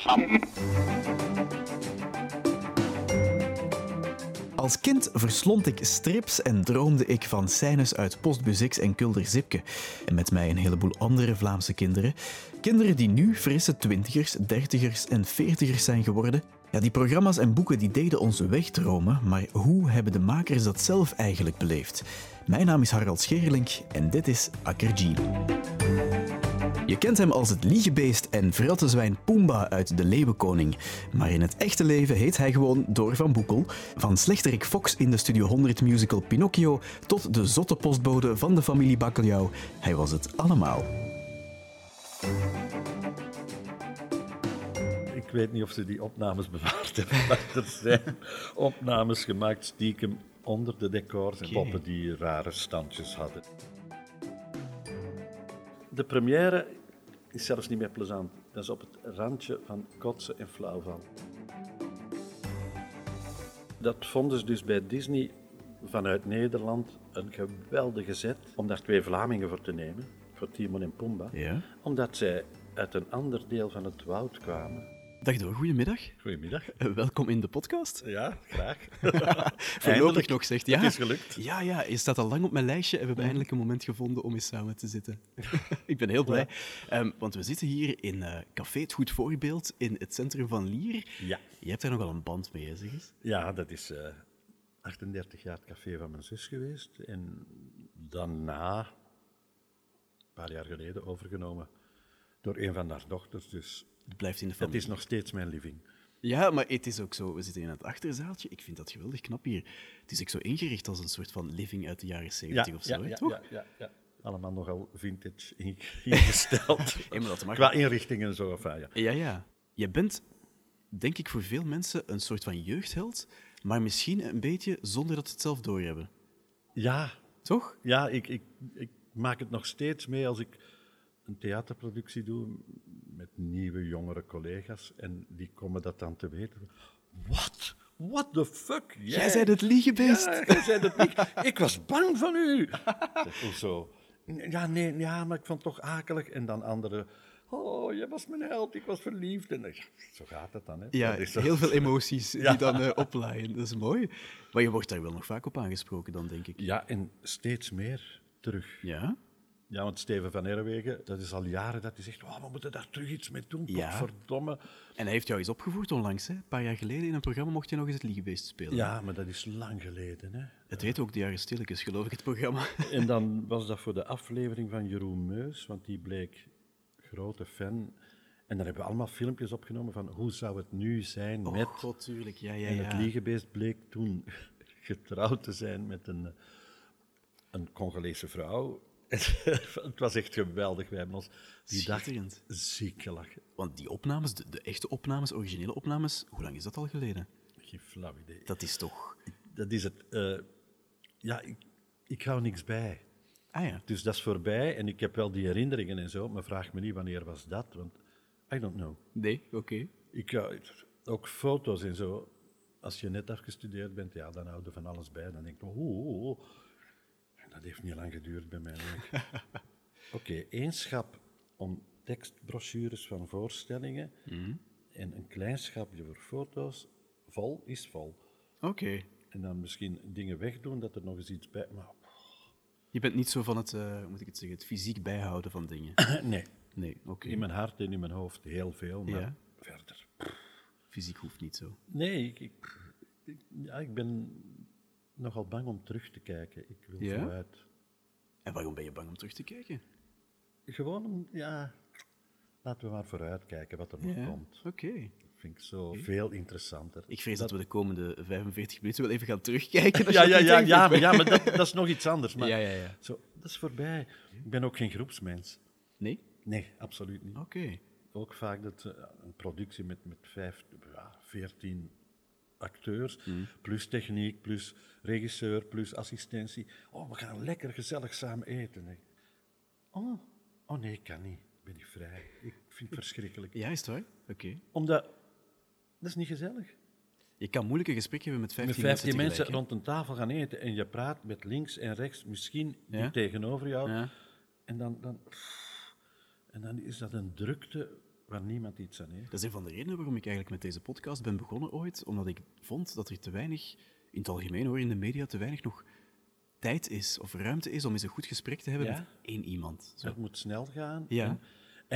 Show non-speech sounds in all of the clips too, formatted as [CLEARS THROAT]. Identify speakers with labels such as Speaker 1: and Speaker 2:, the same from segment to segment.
Speaker 1: Sam.
Speaker 2: Als kind verslond ik strips en droomde ik van scènes uit Postbus X en Kulder Zipke. En met mij een heleboel andere Vlaamse kinderen. Kinderen die nu frisse twintigers, dertigers en veertigers zijn geworden. Ja, die programma's en boeken die deden onze weg dromen, maar hoe hebben de makers dat zelf eigenlijk beleefd? Mijn naam is Harald Scherling en dit is Akkerji. Je kent hem als het liegebeest en vrattenzwijn Pumba uit De Leeuwenkoning. Maar in het echte leven heet hij gewoon Door van Boekel. Van slechterik Fox in de Studio 100 musical Pinocchio tot de zotte postbode van de familie Bakkeljauw. Hij was het allemaal.
Speaker 3: Ik weet niet of ze die opnames [LAUGHS] bewaard hebben, maar er zijn opnames gemaakt stiekem onder de decors en poppen die rare standjes hadden. De première is zelfs niet meer plezant. Dat is op het randje van kotsen en flauwval. Dat vonden ze dus bij Disney vanuit Nederland een geweldige zet om daar twee Vlamingen voor te nemen, voor Timon en Pumba,
Speaker 2: Ja.
Speaker 3: omdat zij uit een ander deel van het woud kwamen.
Speaker 2: Dag door, goedemiddag. Eh,
Speaker 3: Goedemiddag.
Speaker 2: Welkom in de podcast. [LAUGHS]
Speaker 3: Ja, graag.
Speaker 2: Voorlopig nog, zegt ja.
Speaker 3: Het is gelukt. Mhm.
Speaker 2: Ja, ja, je staat al lang op mijn lijstje en we hebben eindelijk een moment gevonden om eens samen te
Speaker 3: [LAUGHS]
Speaker 2: zitten. ik ben heel blij, Ehm, want we zitten hier in eh, Café Het Goed Voorbeeld in het centrum van Lier.
Speaker 3: Ja.
Speaker 2: Je hebt daar nogal een band mee, hè, zeg eens.
Speaker 3: Ja, dat is eh, 38 jaar het café van mijn zus geweest. En daarna, een paar jaar geleden, overgenomen door een van haar dochters. Dus
Speaker 2: Het blijft in de
Speaker 3: dat
Speaker 2: familie.
Speaker 3: is nog steeds mijn living.
Speaker 2: Ja, maar het is ook zo. We zitten in het achterzaaltje. Ik vind dat geweldig knap hier. Het is ook zo ingericht als een soort van living uit de jaren 70 of zo, hè, toch?
Speaker 3: Allemaal nogal vintage in-
Speaker 2: [LAUGHS]
Speaker 3: ingesteld.
Speaker 2: maar dat mag.
Speaker 3: Qua inrichting en zo. Enfin, ja.
Speaker 2: Ja, ja. Je bent, denk ik, voor veel mensen een soort van jeugdheld, maar misschien een beetje zonder dat ze het zelf doorhebben.
Speaker 3: ja,
Speaker 2: Toch?
Speaker 3: Ja, ik, ik, ik maak het nog steeds mee als ik een theaterproductie doe met nieuwe, jongere collega's. En die komen dat dan te weten. Wat? What the fuck?
Speaker 2: Jij bent het liegebeest.
Speaker 3: Ja, jij zei dat
Speaker 2: [LAUGHS]
Speaker 3: niet. Ik was bang van u. Ik Zeg, hoezo? "N- Ja, nee, ja, maar ik vond het toch akelig. En dan anderen. Oh, jij was mijn held, ik was verliefd. En, dan- ja, zo gaat dat dan. Hè.
Speaker 2: Ja,
Speaker 3: Dat is zo.
Speaker 2: heel veel emoties die dan eh, oplaaien. Dat is mooi. Maar je wordt daar wel nog vaak op aangesproken dan, denk ik.
Speaker 3: ja, en steeds meer terug.
Speaker 2: Ja?
Speaker 3: Ja, want Steven van Erwegen, dat is al jaren dat hij zegt, "Oh, we moeten daar terug iets mee doen,
Speaker 2: Ja.
Speaker 3: potverdomme.
Speaker 2: En hij heeft jou eens opgevoerd onlangs, hè? Een paar jaar geleden in een programma mocht je nog eens het liegebeest spelen.
Speaker 3: Ja, maar dat is lang geleden. Hè?
Speaker 2: Het heet ook De Jaren Stilletjes, geloof ik, het programma.
Speaker 3: En dan was dat voor de aflevering van Jeroen Meus, want die bleek grote fan. En dan hebben we allemaal filmpjes opgenomen van hoe zou het nu zijn [LAUGHS] met...
Speaker 2: Oh, God, tuurlijk. Ja, ja,
Speaker 3: En het
Speaker 2: ja.
Speaker 3: liegebeest bleek toen [LAUGHS] getrouwd te zijn met een, eh, een Congolese vrouw. [LAUGHS] het was echt geweldig. Wij hebben ons die dag
Speaker 2: Schitterend.
Speaker 3: ziek gelachen.
Speaker 2: Want die opnames, de, de echte opnames, originele opnames, hoe lang is dat al geleden?
Speaker 3: Geen flauw idee.
Speaker 2: Dat is toch...
Speaker 3: Dat is het. eh, ja, ik, ik hou niks bij.
Speaker 2: Ah ja.
Speaker 3: Dus dat is voorbij en ik heb wel die herinneringen en zo, maar vraag me niet wanneer was dat, want I don't know.
Speaker 2: Nee, oké.
Speaker 3: Ik, eh, ook foto's en zo. Als je net afgestudeerd bent, ja, dan houden van alles bij. Dan denk ik, oh, oh, oh. En dat heeft niet lang geduurd bij mij. denk ik. Oké, één schap om tekstbrochures van voorstellingen en een klein schapje voor foto's. Vol is vol.
Speaker 2: Oké.
Speaker 3: En dan misschien dingen wegdoen, dat er nog eens iets bij... Maar
Speaker 2: Je bent niet zo van het, eh, hoe moet ik het zeggen, het fysiek bijhouden van dingen.
Speaker 3: nee,
Speaker 2: [CLEARS THROAT] Nee, oké.
Speaker 3: in mijn hart en in mijn hoofd heel veel, maar
Speaker 2: Ja.
Speaker 3: verder.
Speaker 2: Fysiek hoeft niet zo.
Speaker 3: Nee, ik, ik, ik- ja, ik ben nogal bang om terug te kijken. Ik wil
Speaker 2: Ja?
Speaker 3: vooruit.
Speaker 2: En waarom ben je bang om terug te kijken?
Speaker 3: Gewoon, om- ja, laten we maar vooruit kijken wat er nog komt.
Speaker 2: oké.
Speaker 3: Dat vind ik zo veel interessanter.
Speaker 2: Ik vrees dat... we de komende 45 minuten wel even gaan terugkijken. als
Speaker 3: [LAUGHS] ja,
Speaker 2: je [LAUGHS]
Speaker 3: ja,
Speaker 2: dat niet
Speaker 3: ja,
Speaker 2: eng
Speaker 3: ja, maar,
Speaker 2: vindt.
Speaker 3: ja, maar dat, dat is nog iets
Speaker 2: [LAUGHS]
Speaker 3: anders. Maar
Speaker 2: Ja, ja, ja.
Speaker 3: Zo, dat is voorbij. Ik ben ook geen groepsmens.
Speaker 2: Nee?
Speaker 3: Nee, absoluut niet.
Speaker 2: Oké.
Speaker 3: ook vaak dat eh, een productie met, met vijf, ja, veertien acteurs,
Speaker 2: Hmm.
Speaker 3: plus techniek, plus regisseur, plus assistentie. Oh, we gaan lekker gezellig samen eten. hè. Oh, oh nee, ik kan niet. Ben ik vrij. Ik
Speaker 2: [LAUGHS]
Speaker 3: vind het verschrikkelijk.
Speaker 2: Ja, is het waar? Oké.
Speaker 3: Omdat, dat is niet gezellig.
Speaker 2: Je kan moeilijke gesprekken hebben met 15,
Speaker 3: Met vijftien
Speaker 2: mensen,
Speaker 3: mensen
Speaker 2: tegelijk,
Speaker 3: rond een tafel gaan eten en je praat met links en rechts, misschien
Speaker 2: Ja.
Speaker 3: die tegenover jou.
Speaker 2: Ja.
Speaker 3: En, dan, dan, en dan is dat een drukte waar niemand iets aan heeft.
Speaker 2: Dat is een van de redenen waarom ik eigenlijk met deze podcast ben begonnen ooit. Omdat ik vond dat er te weinig, in het algemeen hoor, in de media te weinig nog tijd is of ruimte is om eens een goed gesprek te hebben
Speaker 3: Ja?
Speaker 2: met één iemand. Zo.
Speaker 3: Het moet snel gaan.
Speaker 2: Ja.
Speaker 3: En,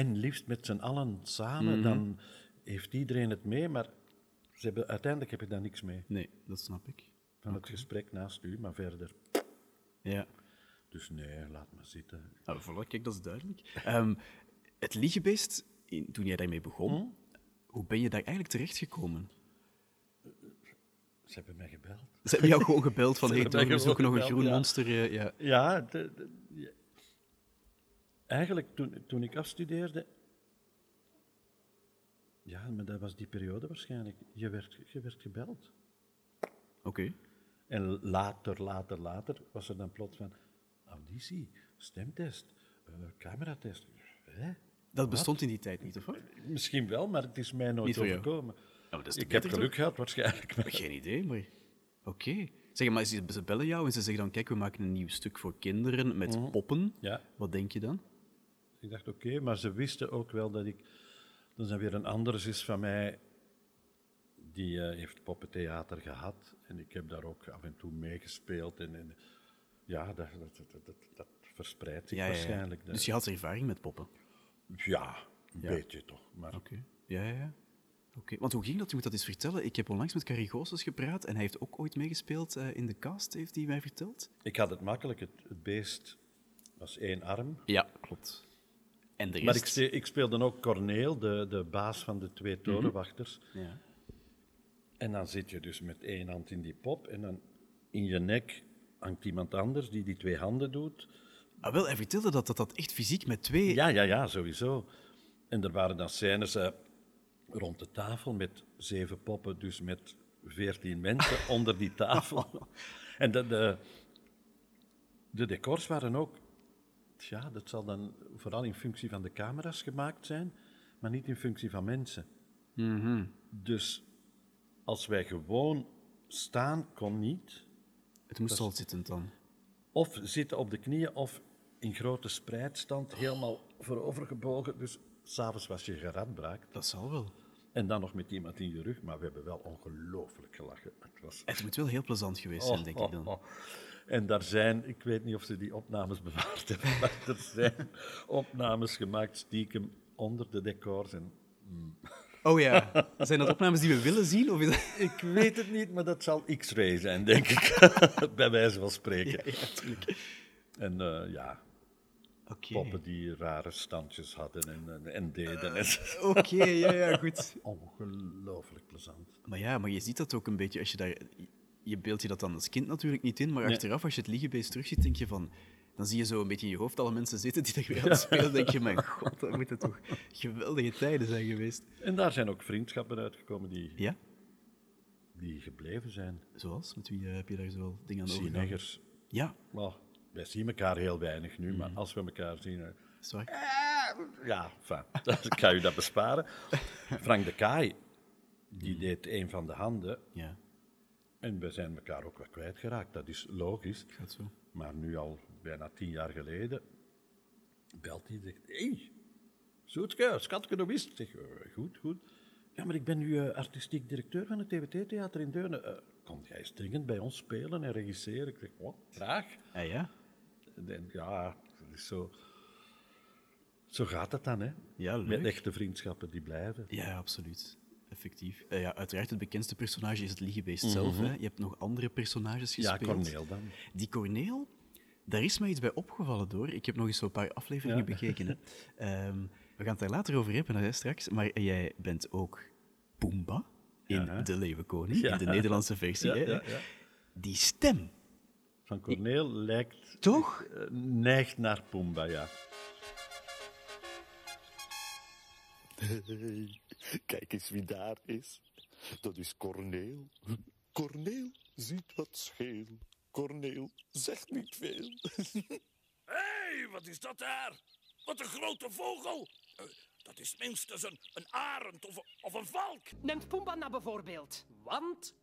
Speaker 3: en liefst met z'n allen samen. Dan heeft iedereen het mee, maar ze hebben, uiteindelijk heb je daar niks mee.
Speaker 2: Nee, dat snap ik.
Speaker 3: Van het gesprek naast u, maar verder.
Speaker 2: Ja.
Speaker 3: Dus nee, laat maar zitten.
Speaker 2: Nou, voilà, kijk, dat is duidelijk. Ehm, het liegebeest, in- toen jij daarmee begon,
Speaker 3: Hm?
Speaker 2: hoe ben je daar eigenlijk terechtgekomen?
Speaker 3: Ze hebben mij gebeld.
Speaker 2: Ze hebben jou gewoon gebeld van,
Speaker 3: Ze
Speaker 2: hey,
Speaker 3: hebben
Speaker 2: Tom,
Speaker 3: mij
Speaker 2: we zoeken nog
Speaker 3: gewoon
Speaker 2: een
Speaker 3: gebeld,
Speaker 2: groen
Speaker 3: ja.
Speaker 2: monster. eh, ja.
Speaker 3: Ja, de- de- ja. eigenlijk toen, toen ik afstudeerde. Ja, maar dat was die periode waarschijnlijk. Je werd, je werd gebeld.
Speaker 2: Oké.
Speaker 3: En later, later, later was er dan plots van auditie, stemtest, eh, cameratest. Hè?
Speaker 2: Dat bestond in die tijd niet, of wat?
Speaker 3: Misschien wel, maar het is mij nooit
Speaker 2: Niet voor jou.
Speaker 3: overkomen.
Speaker 2: maar dat is toch
Speaker 3: ik heb
Speaker 2: beter,
Speaker 3: geluk gehad waarschijnlijk. maar- [LAUGHS]
Speaker 2: Geen idee, maar... Oké. Zeg, maar ze ze bellen jou en ze zeggen dan, kijk, we maken een nieuw stuk voor kinderen met poppen.
Speaker 3: Hm? Ja.
Speaker 2: Wat denk je dan?
Speaker 3: Ik dacht oké, maar ze wisten ook wel dat ik. Er zijn weer een andere zus van mij. Die eh, heeft poppentheater gehad. En ik heb daar ook af en toe meegespeeld. En, en ja, dat, dat, dat, dat, dat verspreidt zich waarschijnlijk. Dat-
Speaker 2: Dus je had ervaring met poppen?
Speaker 3: ja, een
Speaker 2: Ja.
Speaker 3: beetje toch. Maar
Speaker 2: Oké. Ja, ja, ja. Oké, want hoe ging dat? Je moet dat eens vertellen. Ik heb onlangs met Carrie Goossens gepraat en hij heeft ook ooit meegespeeld eh, in de cast, heeft hij mij verteld.
Speaker 3: ik had het makkelijk. Het, het beest was één arm.
Speaker 2: Ja, klopt. En de rest...
Speaker 3: Maar ik, ste- ik speelde ook Corneel, de, de baas van de twee torenwachters.
Speaker 2: Ja.
Speaker 3: En dan zit je dus met één hand in die pop en dan in je nek hangt iemand anders die die twee handen doet.
Speaker 2: Ah, wel, hij vertelde dat, dat dat echt fysiek met twee...
Speaker 3: Ja, ja, ja, sowieso. En er waren dan scènes eh, rond de tafel met zeven poppen, dus met veertien mensen onder die tafel. En de, de, de decors waren ook, ja, dat zal dan vooral in functie van de camera's gemaakt zijn, maar niet in functie van mensen. Dus als wij gewoon staan, kon niet.
Speaker 2: Het moest al zittend dan.
Speaker 3: Of zitten op de knieën of in grote spreidstand, helemaal voorovergebogen. Dus s'avonds was je geradbraakt.
Speaker 2: Dat zal wel.
Speaker 3: En dan nog met iemand in je rug, maar we hebben wel ongelooflijk gelachen. Het was...
Speaker 2: Het moet wel heel plezant geweest zijn, denk ik dan.
Speaker 3: Oh, oh, oh. En daar zijn, ik weet niet of ze die opnames [LAUGHS] bewaard hebben, maar er zijn opnames gemaakt stiekem onder de decors. En...
Speaker 2: Oh ja, zijn dat opnames die we willen zien? Of is dat...
Speaker 3: [LAUGHS] Ik weet het niet, maar dat zal X-ray zijn, denk ik. [LAUGHS] Bij wijze van spreken. En eh, ja,
Speaker 2: Oké,
Speaker 3: poppen die rare standjes hadden en, en, en deden. En-
Speaker 2: Oké, ja, ja, goed.
Speaker 3: Ongelooflijk plezant.
Speaker 2: Maar ja, maar je ziet dat ook een beetje als je daar... Je beeldt je dat dan als kind natuurlijk niet in, maar achteraf als je het liegebeest terugziet, denk je van... Dan zie je zo een beetje in je hoofd alle mensen zitten die daar weer aan het spelen. denk je, [LAUGHS] mijn god, dat moeten toch geweldige tijden zijn geweest.
Speaker 3: En daar zijn ook vriendschappen uitgekomen die,
Speaker 2: Ja?
Speaker 3: die gebleven zijn.
Speaker 2: Zoals? Met wie eh, heb je nou? daar zoal dingen aan over?
Speaker 3: Sineggers.
Speaker 2: Ja,
Speaker 3: Nou, wij zien elkaar heel weinig nu, maar als we elkaar zien... eh,
Speaker 2: is het waar.
Speaker 3: Ja, enfin, dat- ik ga u dat besparen. Frank de Kaai, die deed een van de handen.
Speaker 2: Ja,
Speaker 3: En we zijn elkaar ook wat kwijtgeraakt, dat is logisch.
Speaker 2: gaat zo.
Speaker 3: Maar nu al bijna tien jaar geleden belt hij en zegt: Hé, hey, Zoetke, skatkenomist. Ik Zeg, "Eh, goed, goed. Ja, maar ik ben nu eh, artistiek directeur van het TWT-theater in Deunen. Eh, kom jij eens dringend bij ons spelen en regisseren? Ik zeg, wat, graag.
Speaker 2: Ah ja?
Speaker 3: En, dan, ja, dat is zo... Zo gaat het dan, hè.
Speaker 2: Ja, leuk.
Speaker 3: Met echte vriendschappen die blijven.
Speaker 2: Ja, absoluut. Effectief. Eh, ja, uiteraard, het bekendste personage is het liegebeest zelf. Hè? Je hebt nog andere personages
Speaker 3: Mhm. Ja,
Speaker 2: gespeeld.
Speaker 3: Corneel dan.
Speaker 2: Die Corneel, daar is mij iets bij opgevallen door. Ik heb nog eens zo'n paar afleveringen bekeken. Hè.
Speaker 3: [LAUGHS]
Speaker 2: Ehm, we gaan het daar later over hebben, hè, straks. Maar jij bent ook Pumba in De Leeuwenkoning, in de Nederlandse versie.
Speaker 3: Ja,
Speaker 2: hè?
Speaker 3: ja, ja.
Speaker 2: Die stem,
Speaker 3: Van Corneel lijkt...
Speaker 2: toch?
Speaker 3: eh, neigt naar Pumba, ja.
Speaker 4: Hey, kijk eens wie daar is. Dat is Corneel. Corneel ziet wat scheel. Corneel zegt niet veel.
Speaker 5: Hé, wat is dat daar? Wat een grote vogel! Eh, dat is minstens een, een arend of, of een valk.
Speaker 6: Neemt Pumba nou bijvoorbeeld. Want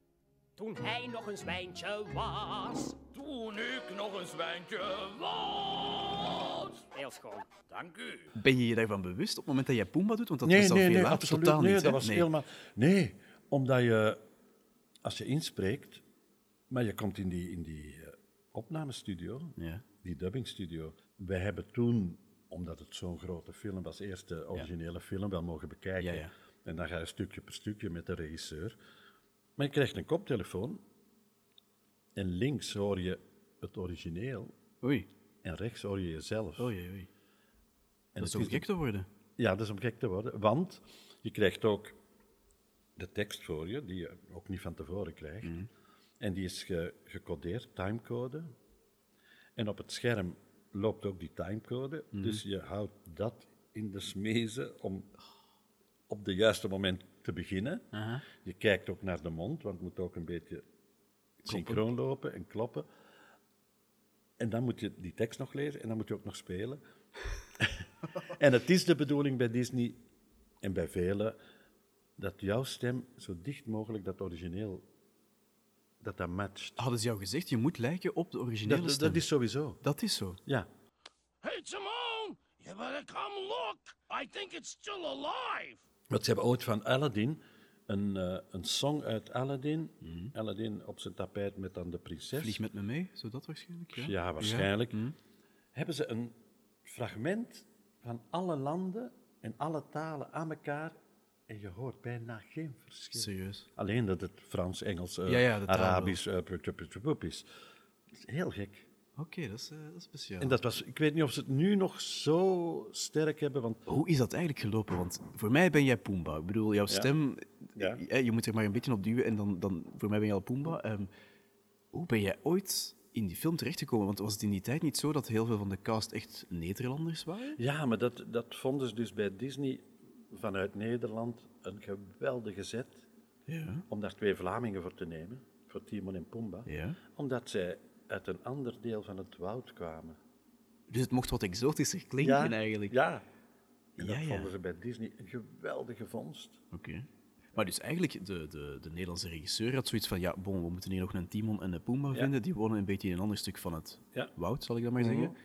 Speaker 6: toen hij nog een zwijntje was,
Speaker 5: Toen ik nog een zwijntje was.
Speaker 7: goed.
Speaker 6: Heel schoon.
Speaker 7: Dank u.
Speaker 2: Ben je je daarvan bewust op het moment dat jij Pumba doet? Want dat
Speaker 3: nee,
Speaker 2: is al
Speaker 3: nee,
Speaker 2: veel
Speaker 3: nee,
Speaker 2: later.
Speaker 3: absoluut.
Speaker 2: Totaal
Speaker 3: nee,
Speaker 2: niet,
Speaker 3: dat
Speaker 2: hè?
Speaker 3: was
Speaker 2: Nee.
Speaker 3: helemaal. Nee, omdat je als je inspreekt, maar je komt in die, in die eh, opnamestudio,
Speaker 2: Ja.
Speaker 3: die dubbingstudio. Wij hebben toen, omdat het zo'n grote film was, eerst de originele film wel mogen bekijken.
Speaker 2: Ja, ja.
Speaker 3: En dan ga je stukje per stukje met de regisseur. Maar je krijgt een koptelefoon en links hoor je het origineel
Speaker 2: Oei.
Speaker 3: en rechts hoor je jezelf.
Speaker 2: Oei, oei, oei.
Speaker 3: en
Speaker 2: Oh Dat is
Speaker 3: het
Speaker 2: om gek te worden.
Speaker 3: ja, dat is om gek te worden. Want je krijgt ook de tekst voor je, die je ook niet van tevoren krijgt. En die is ge- gecodeerd, timecode. En op het scherm loopt ook die timecode. Dus je houdt dat in de smezen om op het juiste moment te beginnen. Je kijkt ook naar de mond, want het moet ook een beetje synchroon lopen en kloppen. En dan moet je die tekst nog lezen en dan moet je ook nog spelen. En het is de bedoeling bij Disney en bij velen dat jouw stem zo dicht mogelijk dat origineel dat dat matcht.
Speaker 2: Hadden ze jou gezegd, je moet lijken op de originele
Speaker 3: Oh, Dat, dat,
Speaker 2: stem.
Speaker 3: dat is sowieso.
Speaker 2: dat is zo.
Speaker 3: Ja.
Speaker 7: Hey, Simone! You better come look. I think it's still alive.
Speaker 3: Want ze hebben ooit van Aladdin een, eh, een song uit Aladdin. Aladdin op zijn tapijt Mhm. met dan de prinses.
Speaker 2: Vlieg met me mee, zo dat waarschijnlijk. Ja, Hm.
Speaker 3: Ja, waarschijnlijk. Hebben ze een fragment van alle landen en alle talen aan elkaar en je hoort bijna geen verschil.
Speaker 2: Serieus.
Speaker 3: Alleen dat het Frans, Engels, eh,
Speaker 2: Ja, ja, de taal wel.
Speaker 3: Arabisch eh, pup, pup, pup, pup is. Dat is heel gek.
Speaker 2: Oké, dat, is, eh, dat is speciaal.
Speaker 3: En dat was, ik weet niet of ze het nu nog zo sterk hebben, want
Speaker 2: Hoe is dat eigenlijk gelopen? Want voor mij ben jij Pumba. Ik bedoel, jouw stem,
Speaker 3: Ja.
Speaker 2: eh, je moet er maar een beetje op duwen en dan, dan voor mij ben je al Pumba. Ehm, hoe ben jij ooit in die film terechtgekomen? Want was het in die tijd niet zo dat heel veel van de cast echt Nederlanders waren?
Speaker 3: Ja, maar dat, dat vonden ze dus bij Disney vanuit Nederland een geweldige zet. Om daar twee Vlamingen voor te nemen, voor Timon en Pumba.
Speaker 2: Ja.
Speaker 3: Omdat zij uit een ander deel van het woud kwamen.
Speaker 2: Dus het mocht wat exotischer klinken eigenlijk.
Speaker 3: Ja. En
Speaker 2: Ja,
Speaker 3: dat
Speaker 2: ja.
Speaker 3: vonden ze bij Disney een geweldige vondst.
Speaker 2: Oké. Maar dus eigenlijk, de, de, de Nederlandse regisseur had zoiets van, ja, bon, we moeten hier nog een Timon en een Pumba vinden. Die wonen een beetje in een ander stuk van het
Speaker 3: Ja. Mhm.
Speaker 2: woud, zal ik dat maar zeggen.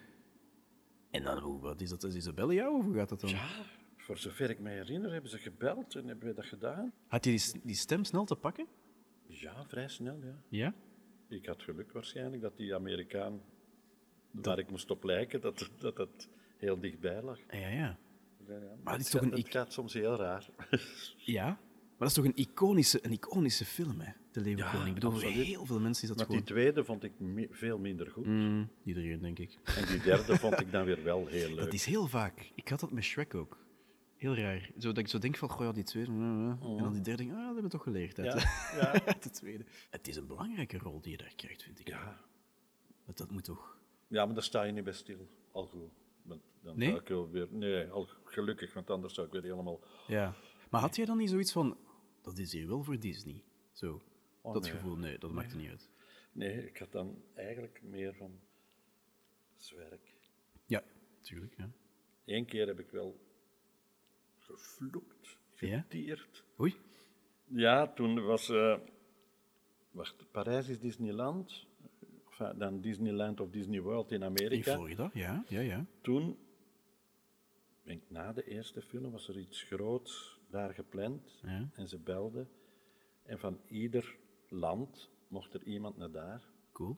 Speaker 2: En dan, hoe- wat is dat? Is Isabelle jou of hoe gaat dat dan?
Speaker 3: Ja, voor zover ik me herinner hebben ze gebeld en hebben we dat gedaan.
Speaker 2: Had je die, s- die stem snel te pakken?
Speaker 3: Ja, vrij snel, ja.
Speaker 2: Ja.
Speaker 3: Ik had geluk waarschijnlijk dat die Amerikaan, waar ik moest op lijken, dat dat, dat heel dichtbij lag.
Speaker 2: Ah, Ja, ja.
Speaker 3: Ja, ja.
Speaker 2: Maar het is
Speaker 3: Ja,
Speaker 2: toch een,
Speaker 3: Het
Speaker 2: ic-
Speaker 3: gaat soms heel raar.
Speaker 2: ja? maar dat is toch een iconische, een iconische film, hè? De Leeuwenkoning.
Speaker 3: Ja,
Speaker 2: ik bedoel, voor
Speaker 3: absoluut.
Speaker 2: heel veel mensen is dat
Speaker 3: Want die
Speaker 2: gewoon...
Speaker 3: tweede vond ik mi- veel minder goed.
Speaker 2: Mm, iedereen, denk ik.
Speaker 3: En die derde vond ik dan weer wel heel
Speaker 2: [LAUGHS]
Speaker 3: leuk.
Speaker 2: Dat is heel vaak. Ik had dat met Shrek ook. Heel raar. Zo, dat ik zo denk van, goh, ja, die tweede... mm, mm. En dan die derde, denk ik, ah, dat hebben we toch geleerd uit,
Speaker 3: Ja,
Speaker 2: de-
Speaker 3: ja.
Speaker 2: [LAUGHS] uit de tweede. Het is een belangrijke rol die je daar krijgt, vind ik.
Speaker 3: Ja.
Speaker 2: Want dat moet toch...
Speaker 3: ja, maar daar sta je niet bij stil. Al goed. Want dan
Speaker 2: Nee?
Speaker 3: zou ik wel weer... Nee, al gelukkig, want anders zou ik weer helemaal...
Speaker 2: Ja. Maar had jij dan niet zoiets van, dat is hier wel voor Disney? Zo.
Speaker 3: Oh,
Speaker 2: dat
Speaker 3: nee.
Speaker 2: gevoel, nee, dat maakt er niet uit.
Speaker 3: Nee, ik had dan eigenlijk meer van... Zwerk.
Speaker 2: Ja, tuurlijk, ja.
Speaker 3: Eén keer heb ik wel gevloekt,
Speaker 2: Ja?
Speaker 3: getierd.
Speaker 2: Oei.
Speaker 3: Ja, toen was. eh, wacht, Parijs is Disneyland. Of eh, dan Disneyland of Disney World in
Speaker 2: In
Speaker 3: Amerika.
Speaker 2: Florida, ja, ja, ja.
Speaker 3: Toen, ik denk na de eerste film, was er iets groots daar gepland.
Speaker 2: Ja.
Speaker 3: En ze belden. En van ieder land mocht er iemand naar daar.
Speaker 2: Cool.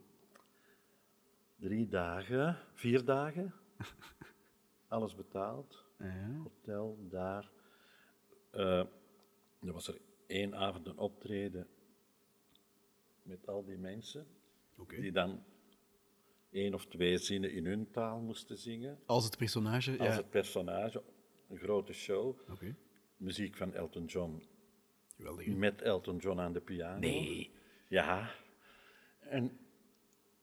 Speaker 3: Drie dagen, vier
Speaker 2: [LAUGHS]
Speaker 3: dagen. Alles betaald.
Speaker 2: Ja.
Speaker 3: hotel daar. Eh, er was er één avond een optreden met al die mensen, die dan één of twee zinnen in hun taal moesten zingen.
Speaker 2: Als het personage, ja.
Speaker 3: Als het personage, een grote show.
Speaker 2: Oké.
Speaker 3: Muziek van Elton John,
Speaker 2: Geweldig.
Speaker 3: met Elton John aan de piano.
Speaker 2: Nee.
Speaker 3: Ja. En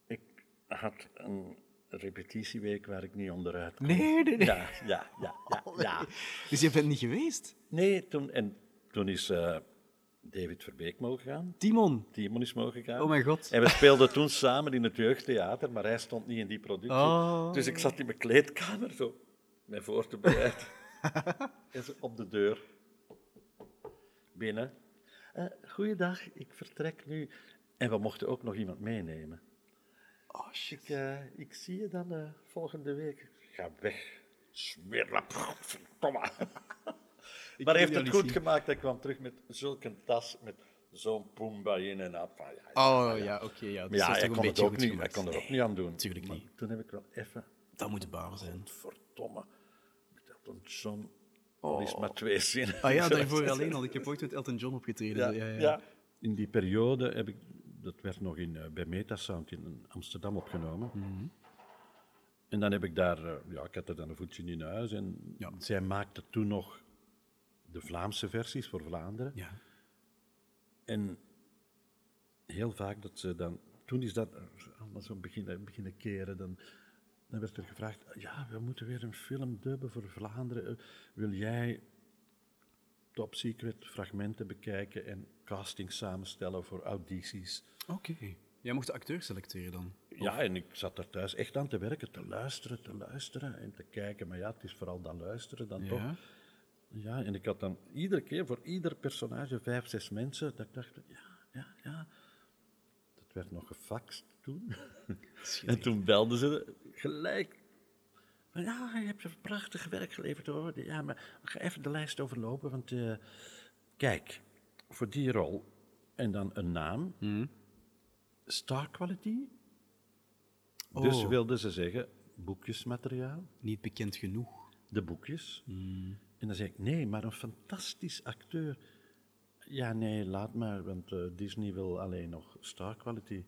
Speaker 3: ik had een repetitieweek waar ik niet onderuit kon.
Speaker 2: Nee, nee, nee.
Speaker 3: Ja, ja, ja,
Speaker 2: [LAUGHS]
Speaker 3: ja, ja.
Speaker 2: Dus je bent niet geweest?
Speaker 3: Nee, toen, en toen is eh, David Verbeek mogen gaan.
Speaker 2: Timon.
Speaker 3: Timon is mogen gaan.
Speaker 2: Oh mijn god.
Speaker 3: En we speelden toen samen in het jeugdtheater, maar hij stond niet in die productie.
Speaker 2: Oh.
Speaker 3: Dus ik zat in mijn kleedkamer zo, mij voor te
Speaker 2: [LAUGHS]
Speaker 3: bereiden. en ze op de deur. Binnen. Eh goeiedag, ik vertrek nu. En we mochten ook nog iemand meenemen.
Speaker 2: Oh, shit.
Speaker 3: Ik, eh, ik zie je dan eh, volgende week. Ga weg. Smeerlap. Verdomme.
Speaker 2: [LAUGHS] Ik
Speaker 3: maar
Speaker 2: wil
Speaker 3: heeft
Speaker 2: jou
Speaker 3: het
Speaker 2: niet
Speaker 3: goed
Speaker 2: zien.
Speaker 3: gemaakt. Hij kwam terug met zulke tas, met zo'n poemba in en uit. Van, Ah, ja,
Speaker 2: Oh ja, oké. ja, dat
Speaker 3: Maar ja,
Speaker 2: is toch
Speaker 3: hij
Speaker 2: een
Speaker 3: kon, het
Speaker 2: beetje
Speaker 3: ook
Speaker 2: goed
Speaker 3: niet, hij
Speaker 2: gemaakt.
Speaker 3: kon er ook niet aan doen.
Speaker 2: tuurlijk
Speaker 3: Maar
Speaker 2: niet.
Speaker 3: Toen heb ik wel even,
Speaker 2: Dat moet de baan zijn.
Speaker 3: verdomme, met Elton John, al is het maar twee zinnen. [LAUGHS]
Speaker 2: Ah ja, daarvoor alleen al. Ik heb ooit met Elton John opgetreden. Ja, ja, ja.
Speaker 3: In die periode heb ik, dat werd nog in, eh, bij Metasound in Amsterdam opgenomen.
Speaker 2: Mhm.
Speaker 3: En dan heb ik daar, eh, ja, ik had er dan een voetje in huis. En
Speaker 2: Ja.
Speaker 3: zij maakte toen nog de Vlaamse versies voor Vlaanderen.
Speaker 2: Ja.
Speaker 3: En heel vaak dat ze dan, toen is dat allemaal zo beginnen, beginnen keren, dan, dan werd er gevraagd, ja, we moeten weer een film dubben voor Vlaanderen. Eh, Wil jij top secret fragmenten bekijken en castings samenstellen voor audities?
Speaker 2: Oké. Jij mocht de acteur selecteren dan.
Speaker 3: Ja, en ik zat daar thuis echt aan te werken, te luisteren, te luisteren en te kijken. Maar ja, het is vooral dat luisteren dan toch.
Speaker 2: Ja.
Speaker 3: Ja, en ik had dan iedere keer voor ieder personage vijf, zes mensen. Dat ik dacht, ja, ja, ja. Dat werd nog gefaxt toen. en toen belden ze gelijk. Van, Ja, je hebt een prachtig werk geleverd hoor. Ja, maar ga even de lijst overlopen, want eh, kijk, voor die rol en dan een naam. Star quality. Dus
Speaker 2: Oh.
Speaker 3: wilden ze zeggen boekjesmateriaal
Speaker 2: Niet bekend genoeg.
Speaker 3: de boekjes.
Speaker 2: Mm.
Speaker 3: En dan zei ik, nee, maar een fantastisch acteur. Ja, nee, laat maar, want eh, Disney wil alleen nog star quality.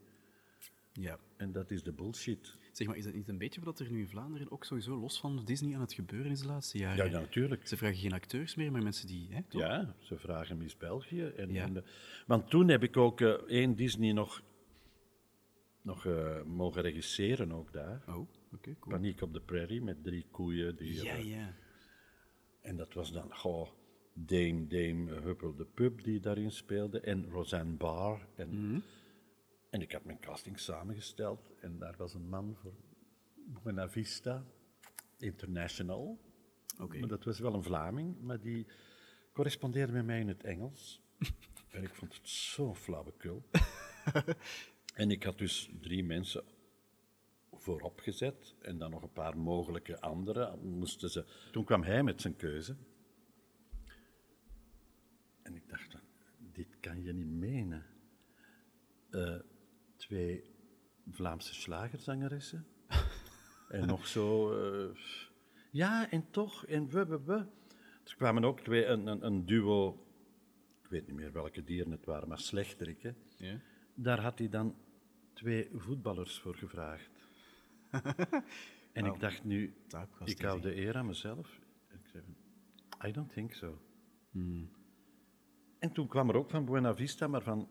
Speaker 2: Ja.
Speaker 3: En dat is de bullshit.
Speaker 2: Zeg maar, is dat niet een beetje wat er nu in Vlaanderen ook sowieso los van Disney aan het gebeuren is de laatste jaren?
Speaker 3: Ja, ja, natuurlijk.
Speaker 2: Ze vragen geen acteurs meer, maar mensen die... Hè, toch?
Speaker 3: Ja, ze vragen Miss België. En,
Speaker 2: Ja.
Speaker 3: en, eh, want toen heb ik ook eh, één Disney nog, nog eh, mogen regisseren, ook daar.
Speaker 2: Oh, oké, cool.
Speaker 3: Paniek op de Prairie, met drie koeien. Die,
Speaker 2: Ja,
Speaker 3: eh,
Speaker 2: ja.
Speaker 3: En dat was dan, goh, Dame Dame eh, Huppel de Pub die daarin speelde en Roseanne Barr. En, en ik had mijn casting samengesteld en daar was een man voor Buena Vista International.
Speaker 2: Oké.
Speaker 3: Maar dat was wel een Vlaming, maar die correspondeerde met mij in het [LAUGHS] Engels. en ik vond het zo [LAUGHS] flauwekul. en ik had dus drie mensen voorop gezet en dan nog een paar mogelijke anderen. Moesten ze... Toen kwam hij met zijn keuze. En ik dacht, dan, dit kan je niet menen. Eh, twee Vlaamse slagerzangeressen. en nog zo... eh, ja, en toch, en we, we, we. Er kwamen ook twee, een, een, een duo... Ik weet niet meer welke dieren het waren, maar slechterikken.
Speaker 2: Ja.
Speaker 3: Daar had hij dan twee voetballers voor gevraagd. en ik dacht nu,
Speaker 2: Typecasting
Speaker 3: ik hou de eer aan mezelf. Ik zei, I don't think so. En toen kwam er ook van Buena Vista, maar van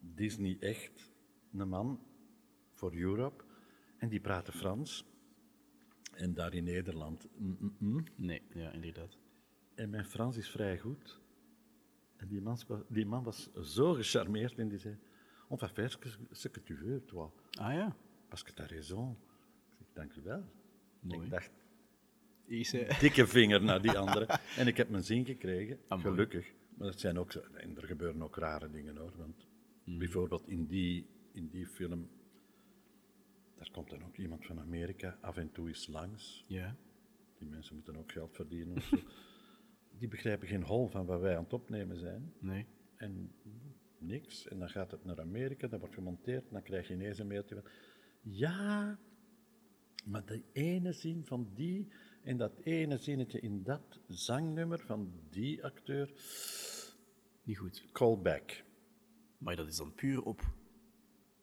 Speaker 3: Disney echt, een man voor Europe. En die praatte Frans. En daar in Nederland. mm, mm, mm.
Speaker 2: Nee, ja, inderdaad.
Speaker 3: En mijn Frans is vrij goed. En die man, spa- die man was zo gecharmeerd en die zei... On va faire ce que- ce que tu veux, toi.
Speaker 2: Ah ja.
Speaker 3: Parce que t'as raison. Ik zeg, dank u wel.
Speaker 2: Mooi.
Speaker 3: Ik dacht,
Speaker 2: Is, eh,
Speaker 3: dikke vinger naar die
Speaker 2: [LAUGHS]
Speaker 3: andere. En ik heb mijn zin gekregen,
Speaker 2: Amai.
Speaker 3: gelukkig. Maar dat zijn ook, zo- en er gebeuren ook rare dingen hoor. Want
Speaker 2: Hmm.
Speaker 3: bijvoorbeeld in die, in die film, daar komt dan ook iemand van Amerika af en toe eens langs.
Speaker 2: [LAUGHS] Ja.
Speaker 3: Die mensen moeten ook geld verdienen. of zo. die begrijpen geen hol van wat wij aan het opnemen zijn.
Speaker 2: Nee.
Speaker 3: En niks. En dan gaat het naar Amerika, dat wordt gemonteerd. En dan krijg je ineens een mailtje van... Ja, maar de ene zin van die... En dat ene zinnetje in dat zangnummer van die acteur...
Speaker 2: Niet goed.
Speaker 3: Callback.
Speaker 2: Maar dat is dan puur op...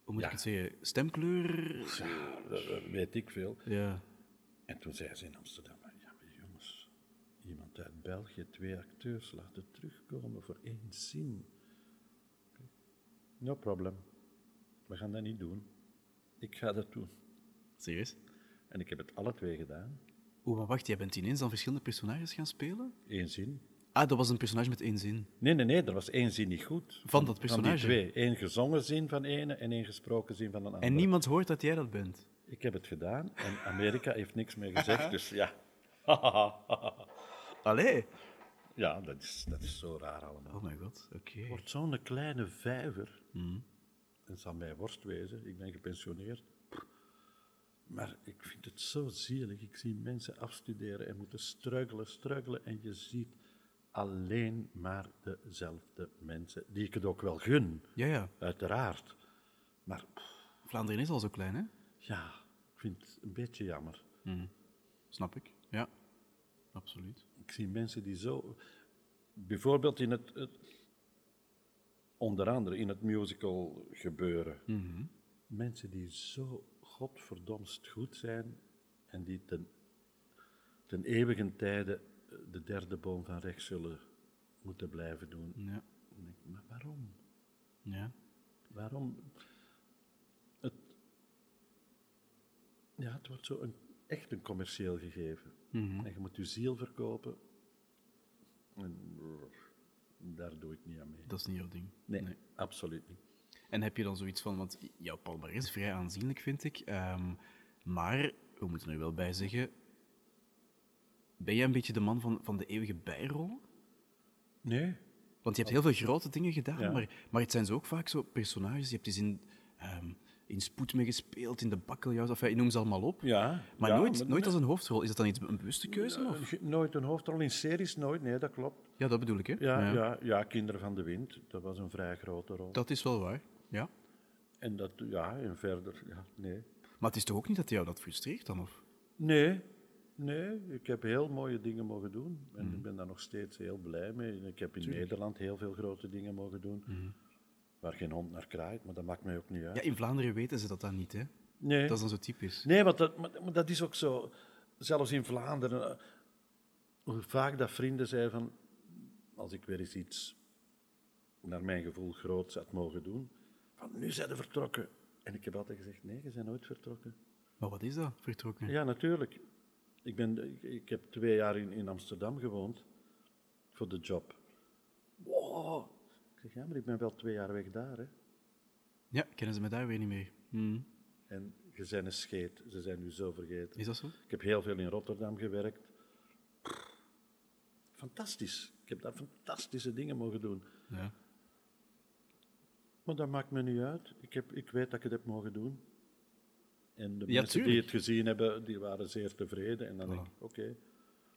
Speaker 2: Hoe moet
Speaker 3: Ja.
Speaker 2: ik het zeggen? Stemkleur?
Speaker 3: Dat dat weet ik veel.
Speaker 2: Ja.
Speaker 3: En toen zei ze in Amsterdam... "Ah, Ja, maar jongens... Iemand uit België, twee acteurs laten terugkomen voor één zin. No problem. We gaan dat niet doen. Ik ga dat doen.
Speaker 2: Serieus?
Speaker 3: En ik heb het alle twee gedaan.
Speaker 2: Oeh, Oh, maar wacht, jij bent ineens dan verschillende personages gaan spelen?
Speaker 3: Eén zin.
Speaker 2: Ah, dat was een personage met één zin.
Speaker 3: Nee, nee, nee, er was één zin niet goed.
Speaker 2: Van dat
Speaker 3: Van
Speaker 2: personage?
Speaker 3: die twee. Eén gezongen zin van ene en één gesproken zin van een ander.
Speaker 2: En niemand hoort dat jij dat bent.
Speaker 3: Ik heb het gedaan en Amerika heeft niks meer gezegd, dus ja. [LAUGHS]
Speaker 2: Allee.
Speaker 3: Ja, dat is, dat is zo raar allemaal.
Speaker 2: Oh mijn god, oké.
Speaker 3: Het wordt zo'n kleine vijver. Dat zal mij worst wezen. Ik ben gepensioneerd. Pff, Maar ik vind het zo zielig. Ik zie mensen afstuderen en moeten struikelen, struikelen. En je ziet alleen maar dezelfde mensen, die ik het ook wel gun,
Speaker 2: Ja, ja.
Speaker 3: uiteraard. Maar pff,
Speaker 2: Vlaanderen is al zo klein, hè?
Speaker 3: ja, ik vind het een beetje jammer.
Speaker 2: Snap ik. Ja. Absoluut.
Speaker 3: Ik zie mensen die zo. Bijvoorbeeld in het. het- onder andere in het musical gebeuren. Mensen die zo godverdomst goed zijn. en die ten, ten eeuwigen tijde eh, de derde boom van rechts zullen moeten blijven doen.
Speaker 2: Ja.
Speaker 3: Dan denk ik, Maar waarom?
Speaker 2: Ja.
Speaker 3: Waarom? Het, ja, het wordt zo een, echt een commercieel gegeven. En je moet je ziel verkopen. En brrr, daar doe ik niet aan mee.
Speaker 2: Dat is niet jouw ding.
Speaker 3: Nee, absoluut niet.
Speaker 2: En heb je dan zoiets van, want jouw palmarès is vrij aanzienlijk, vind ik. ehm, maar, we moeten er wel bij zeggen, ben jij een beetje de man van, van de eeuwige bijrollen?
Speaker 3: Nee?
Speaker 2: Want je hebt heel veel grote dingen gedaan,
Speaker 3: Ja.
Speaker 2: maar, maar het zijn zo ook vaak zo personages. Je hebt eens in, ehm, in Spoed mee gespeeld, in de Bakkeljauws, of je noem ze allemaal op.
Speaker 3: Ja,
Speaker 2: Maar
Speaker 3: ja,
Speaker 2: nooit,
Speaker 3: maar-
Speaker 2: nooit als een hoofdrol. Is dat dan iets, een bewuste keuze? Of?
Speaker 3: Ge- Nooit een hoofdrol in series, nooit. Nee, dat klopt.
Speaker 2: Ja, dat bedoel ik, hè?
Speaker 3: Ja, ja. Ja, Kinderen van de Wind, dat was een vrij grote rol.
Speaker 2: Dat is wel waar, ja.
Speaker 3: En dat, ja, en verder, ja, nee.
Speaker 2: Maar het is toch ook niet dat jou dat frustreert dan? Of?
Speaker 3: Nee, nee. Ik heb heel mooie dingen mogen doen. En ik ben daar nog steeds heel blij mee. En Ik heb in Nederland heel veel grote dingen mogen doen. Waar geen hond naar kraait, maar dat maakt mij ook niet uit.
Speaker 2: Ja, in Vlaanderen weten ze dat dan niet, hè?
Speaker 3: nee,
Speaker 2: Dat is dan zo typisch.
Speaker 3: nee want dat, maar, maar dat is ook zo. Zelfs in Vlaanderen. eh, Hoe vaak dat vrienden zeiden van... Als ik weer eens iets, naar mijn gevoel, groots had mogen doen. Van, nu zijn ze vertrokken. En ik heb altijd gezegd, nee, ze zijn nooit vertrokken.
Speaker 2: Maar wat is dat, vertrokken?
Speaker 3: Ja, natuurlijk. Ik, ben, ik, ik heb twee jaar in, in Amsterdam gewoond voor de job. Wow. Ik zeg, ja, maar ik ben wel twee jaar weg daar. Hè.
Speaker 2: Ja, kennen ze me daar weer niet mee. Hmm.
Speaker 3: Mm. En je zijn een scheet. Ze zijn nu zo vergeten.
Speaker 2: Is dat zo?
Speaker 3: Ik heb heel veel in Rotterdam gewerkt. Fantastisch. Ik heb daar fantastische dingen mogen doen.
Speaker 2: Ja.
Speaker 3: Maar dat maakt me niet uit. Ik, heb, ik weet dat ik het heb mogen doen. En de
Speaker 2: Ja,
Speaker 3: mensen die
Speaker 2: tuurlijk.
Speaker 3: het gezien hebben, die waren zeer tevreden. En dan denk ik, oké.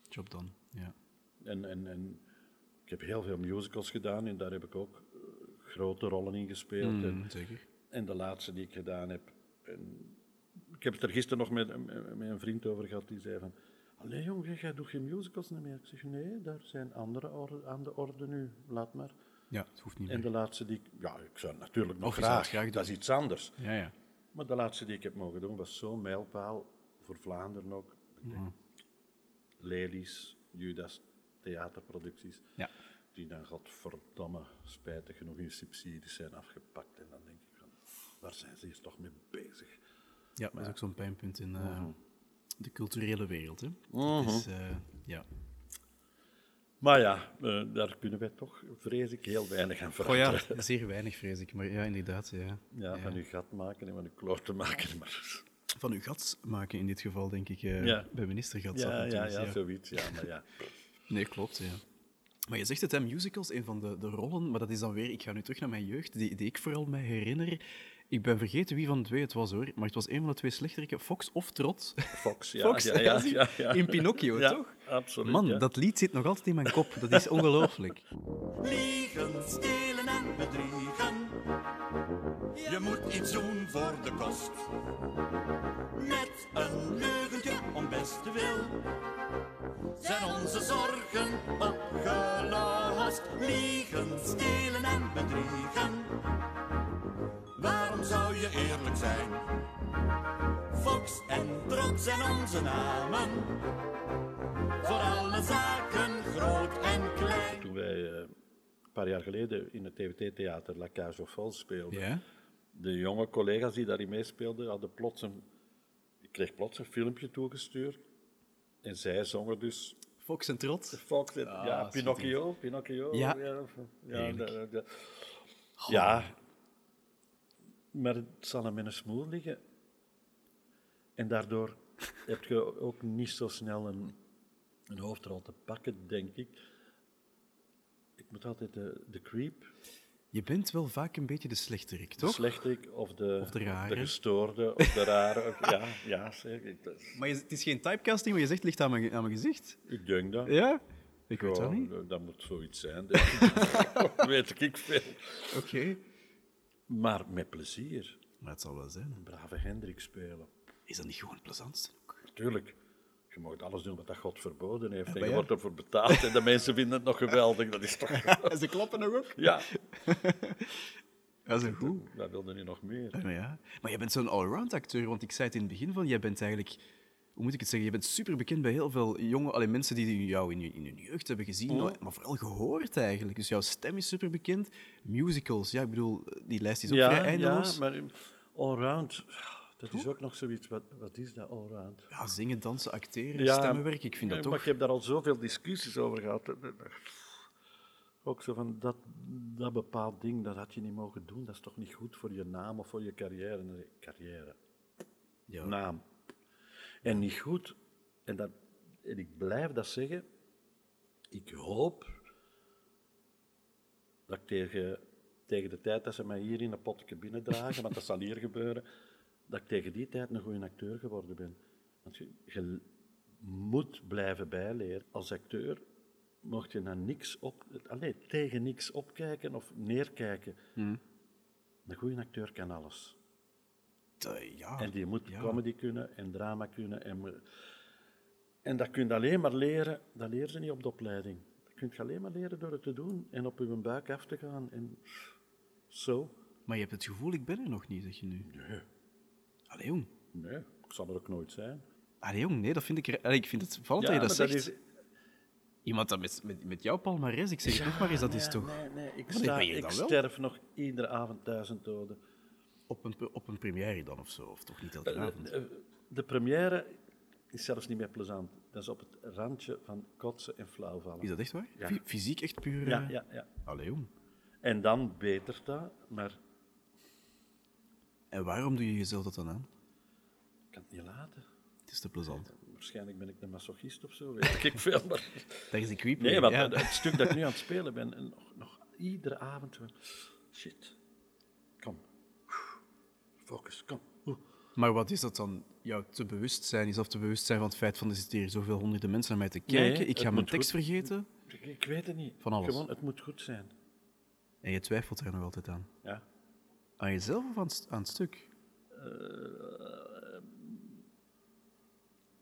Speaker 2: Job dan. Ja.
Speaker 3: En, en, en ik heb heel veel musicals gedaan en daar heb ik ook eh, grote rollen in gespeeld. En,
Speaker 2: Hmm, Zeker.
Speaker 3: en de laatste die ik gedaan heb. En ik heb het er gisteren nog met, met, met een vriend over gehad die zei van. Allee jong, jij- jij doet geen musicals niet meer. Ik zeg nee, daar zijn andere or- aan de orde nu. Laat maar.
Speaker 2: Ja, het hoeft niet
Speaker 3: En
Speaker 2: meer.
Speaker 3: de laatste die ik. Ja, ik zou natuurlijk nog
Speaker 2: Of je zou
Speaker 3: graag.
Speaker 2: het graag
Speaker 3: dat is iets anders.
Speaker 2: Ja, ja.
Speaker 3: Maar de laatste die ik heb mogen doen was zo'n mijlpaal voor Vlaanderen ook. Ik
Speaker 2: Mhm.
Speaker 3: denk, Lelies, Judas, theaterproducties.
Speaker 2: Ja.
Speaker 3: Die dan, godverdomme, spijtig genoeg in subsidies zijn afgepakt. En dan denk ik van, waar zijn ze hier toch mee bezig?
Speaker 2: ja dat is ook zo'n pijnpunt in eh,
Speaker 3: Mhm.
Speaker 2: de culturele wereld. Hè. Dat is, eh, ja.
Speaker 3: Maar ja, eh, daar kunnen wij toch, vrees ik, heel weinig aan
Speaker 2: Oh
Speaker 3: veranderen.
Speaker 2: ja, [LAUGHS] zeer weinig vrees ik. Maar ja, inderdaad. Ja.
Speaker 3: Ja, van uw gat maken en van uw kloor te maken. Maar,
Speaker 2: Van uw gats maken in dit geval, denk ik. eh,
Speaker 3: Ja.
Speaker 2: Bij minister gats.
Speaker 3: ja, ja, ja, zoiets. Ja, maar ja.
Speaker 2: Nee, klopt, ja. Maar je zegt het, hè, musicals, een van de, de rollen, maar dat is dan weer... Ik ga nu terug naar mijn jeugd, die, die ik vooral mij herinner. Ik ben vergeten wie van de twee het was, hoor. Maar het was een van de twee slechteriken, Fox of Trot.
Speaker 3: Fox, ja.
Speaker 2: [LAUGHS] Fox, [LAUGHS]
Speaker 3: ja, ja,
Speaker 2: zie je?
Speaker 3: ja, ja.
Speaker 2: In Pinocchio,
Speaker 3: Ja,
Speaker 2: toch?
Speaker 3: absoluut,
Speaker 2: Man,
Speaker 3: ja.
Speaker 2: dat lied zit nog altijd in mijn kop. Dat
Speaker 3: [LAUGHS]
Speaker 2: is ongelooflijk.
Speaker 8: Liegen, stelen en bedriegen. Je moet iets doen voor de kost. Met een leugentje om beste wil. Zijn onze zorgen opgelost. Liegen, stelen en bedriegen. Waarom zou je eerlijk zijn? Fox en trots zijn onze namen. Voor alle zaken groot en klein.
Speaker 3: Toen wij eh, een paar jaar geleden in het TVT-theater La Cage aux Folles speelden,
Speaker 2: Ja?
Speaker 3: de jonge collega's die daarin meespeelden, hadden plots een, ik kreeg plots een filmpje toegestuurd. En zij zongen dus
Speaker 2: Fox en Trot.
Speaker 3: Fox en- ja,
Speaker 2: schitterend.
Speaker 3: Pinocchio, Pinocchio.
Speaker 2: Ah, Ja,
Speaker 3: ja, ja,
Speaker 2: heerlijk.
Speaker 3: de- de- ja. maar het zal hem in een smoel liggen. En
Speaker 2: [LAUGHS]
Speaker 3: daardoor heb je ook niet zo snel een, een hoofdrol te pakken, denk ik. Ik moet altijd de, de creep
Speaker 2: Je bent wel vaak een beetje de slechterik,
Speaker 3: De
Speaker 2: toch?
Speaker 3: slechterik of de,
Speaker 2: Of de rare.
Speaker 3: gestoorde of de rare. of- ja, ja zeker. Ik, dat is-
Speaker 2: Maar je- het is geen typecasting, maar je zegt het ligt aan mijn, aan mijn gezicht.
Speaker 3: ik denk dat.
Speaker 2: Ja? Ik weet
Speaker 3: Ja,
Speaker 2: dat niet.
Speaker 3: dat moet zoiets zijn. denk ik. [LAUGHS] weet ik veel.
Speaker 2: Oké.
Speaker 3: Maar met plezier.
Speaker 2: Maar het zal wel zijn.
Speaker 3: Een brave Hendrik spelen.
Speaker 2: Is dat niet gewoon het plezantste
Speaker 3: [LAUGHS]
Speaker 2: ook?
Speaker 3: Tuurlijk. Je mag alles doen wat dat God verboden heeft. en
Speaker 2: maar
Speaker 3: je
Speaker 2: ja.
Speaker 3: wordt ervoor betaald. En de mensen vinden het nog geweldig. Dat
Speaker 2: [LAUGHS]
Speaker 3: is toch...
Speaker 2: Ze klappen nog ook.
Speaker 3: Ja,
Speaker 2: Dat is een goed.
Speaker 3: [LAUGHS] dat wilde nu nog meer.
Speaker 2: Maar, Eh, ja. maar jij bent zo'n allround acteur, want ik zei het in het begin van, jij bent eigenlijk, hoe moet ik het zeggen, je bent super bekend bij heel veel jonge, allee, mensen die jou in, hun- in hun jeugd hebben gezien, maar, maar vooral gehoord eigenlijk. Dus jouw stem is super bekend. Musicals, ja, ik bedoel, die lijst is ook
Speaker 3: Ja,
Speaker 2: vrij
Speaker 3: ja,
Speaker 2: eindeloos. Ja,
Speaker 3: maar allround... Dat is ook nog zoiets. Wat, wat is dat allround?
Speaker 2: zingen, dansen, acteren, stemmenwerk, ik vind dat
Speaker 3: maar
Speaker 2: toch...
Speaker 3: ik heb daar al zoveel discussies over gehad. Ook zo van dat, dat bepaald ding, dat had je niet mogen doen. Dat is toch niet goed voor je naam of voor je carrière. En dan zeg ik, carrière.
Speaker 2: Ja.
Speaker 3: Naam. En niet goed. En, dat, en ik blijf dat zeggen. Ik hoop dat ik tegen, tegen de tijd dat ze mij hier in een potje binnendragen, want dat zal hier gebeuren, dat ik tegen die tijd een goede acteur geworden ben. Want je, je moet blijven bijleren. Als acteur mocht je naar niks op, alleen tegen niks opkijken of neerkijken. Een goede acteur kan alles.
Speaker 2: Eh, ja.
Speaker 3: En die moet
Speaker 2: ja.
Speaker 3: comedy kunnen en drama kunnen. En, mo- en dat kun je alleen maar leren, dat leer je niet op de opleiding. Dat kun je alleen maar leren door het te doen en op je buik af te gaan. En zo.
Speaker 2: Maar je hebt het gevoel, ik ben er nog niet, zeg je nu.
Speaker 3: Nee,
Speaker 2: Allee, jong.
Speaker 3: nee, ik zal er ook nooit zijn.
Speaker 2: Allee, jong, nee, dat vind ik... er- Allee, ik vind het vallend dat
Speaker 3: maar
Speaker 2: je dat zegt. Iemand dat met, met, met jouw palmarès, ik zeg het nog maar eens, dat is
Speaker 3: nee,
Speaker 2: toch...
Speaker 3: Nee, nee, ik,
Speaker 2: Maar ik
Speaker 3: sta,
Speaker 2: ben hier
Speaker 3: ik
Speaker 2: dan wel.
Speaker 3: sterf nog iedere avond duizend doden.
Speaker 2: Op een, op een première dan of zo, of toch niet elke avond?
Speaker 3: Eh, De première is zelfs niet meer plezant. Dat is op het randje van kotsen en flauwvallen.
Speaker 2: Is dat echt waar?
Speaker 3: Ja.
Speaker 2: Fy- Fysiek echt puur...
Speaker 3: Ja,
Speaker 2: eh,
Speaker 3: ja, ja.
Speaker 2: Allee, jong.
Speaker 3: En dan betert dat, maar
Speaker 2: En waarom doe je jezelf dat dan aan?
Speaker 3: ik kan het niet laten.
Speaker 2: Het is te plezant.
Speaker 3: Waarschijnlijk ben ik een masochist of zo,
Speaker 2: [LAUGHS]
Speaker 3: weet ik veel. Maar...
Speaker 2: Dat is een creep.
Speaker 3: Nee, want
Speaker 2: ja.
Speaker 3: het, het stuk dat ik nu aan het spelen ben, en nog, nog iedere avond... zo, Shit. Kom. Focus, kom. Oeh.
Speaker 2: [LAUGHS] Maar wat is dat dan? Jou te bewust zijn? Is dat te bewust zijn van het feit van er zitten hier zoveel honderden mensen naar mij te
Speaker 3: Nee,
Speaker 2: kijken? ik
Speaker 3: het
Speaker 2: ga mijn
Speaker 3: moet
Speaker 2: tekst
Speaker 3: goed-
Speaker 2: vergeten?
Speaker 3: Ik- Ik weet het niet.
Speaker 2: Van alles.
Speaker 3: Gewoon, het moet goed zijn.
Speaker 2: En je twijfelt er nog altijd aan.
Speaker 3: Ja.
Speaker 2: Aan jezelf of aan, het- aan het stuk?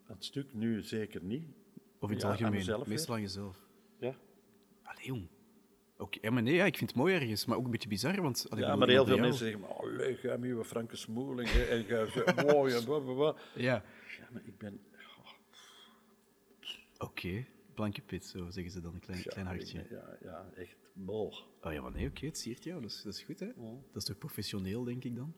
Speaker 3: Dat stuk nu zeker niet.
Speaker 2: Of in het
Speaker 3: Ja, aan
Speaker 2: algemeen?
Speaker 3: mezelf, hè.
Speaker 2: Meestal aan jezelf.
Speaker 3: Ja.
Speaker 2: Allee, jong. Oké, ja, maar nee, ja, ik vind het mooi ergens, maar ook een beetje bizar, want... allee, ik bedoel,
Speaker 3: Ja, maar heel
Speaker 2: iemand
Speaker 3: veel
Speaker 2: bij
Speaker 3: mensen zeggen, oh, leuk, jij met je Franke Smoeling hè, en jij zo [LAUGHS] mooi en blablabla.
Speaker 2: jou. Ja.
Speaker 3: Ja, maar ik ben... oh,
Speaker 2: Oké, blanke pit, zo zeggen ze dan, een klein, klein
Speaker 3: ja,
Speaker 2: hartje.
Speaker 3: ik ben- ja, ja, echt bol.
Speaker 2: Oh ja, maar nee, oké, het siert jou, dat is, dat is goed, hè? Dat is toch professioneel, denk ik dan?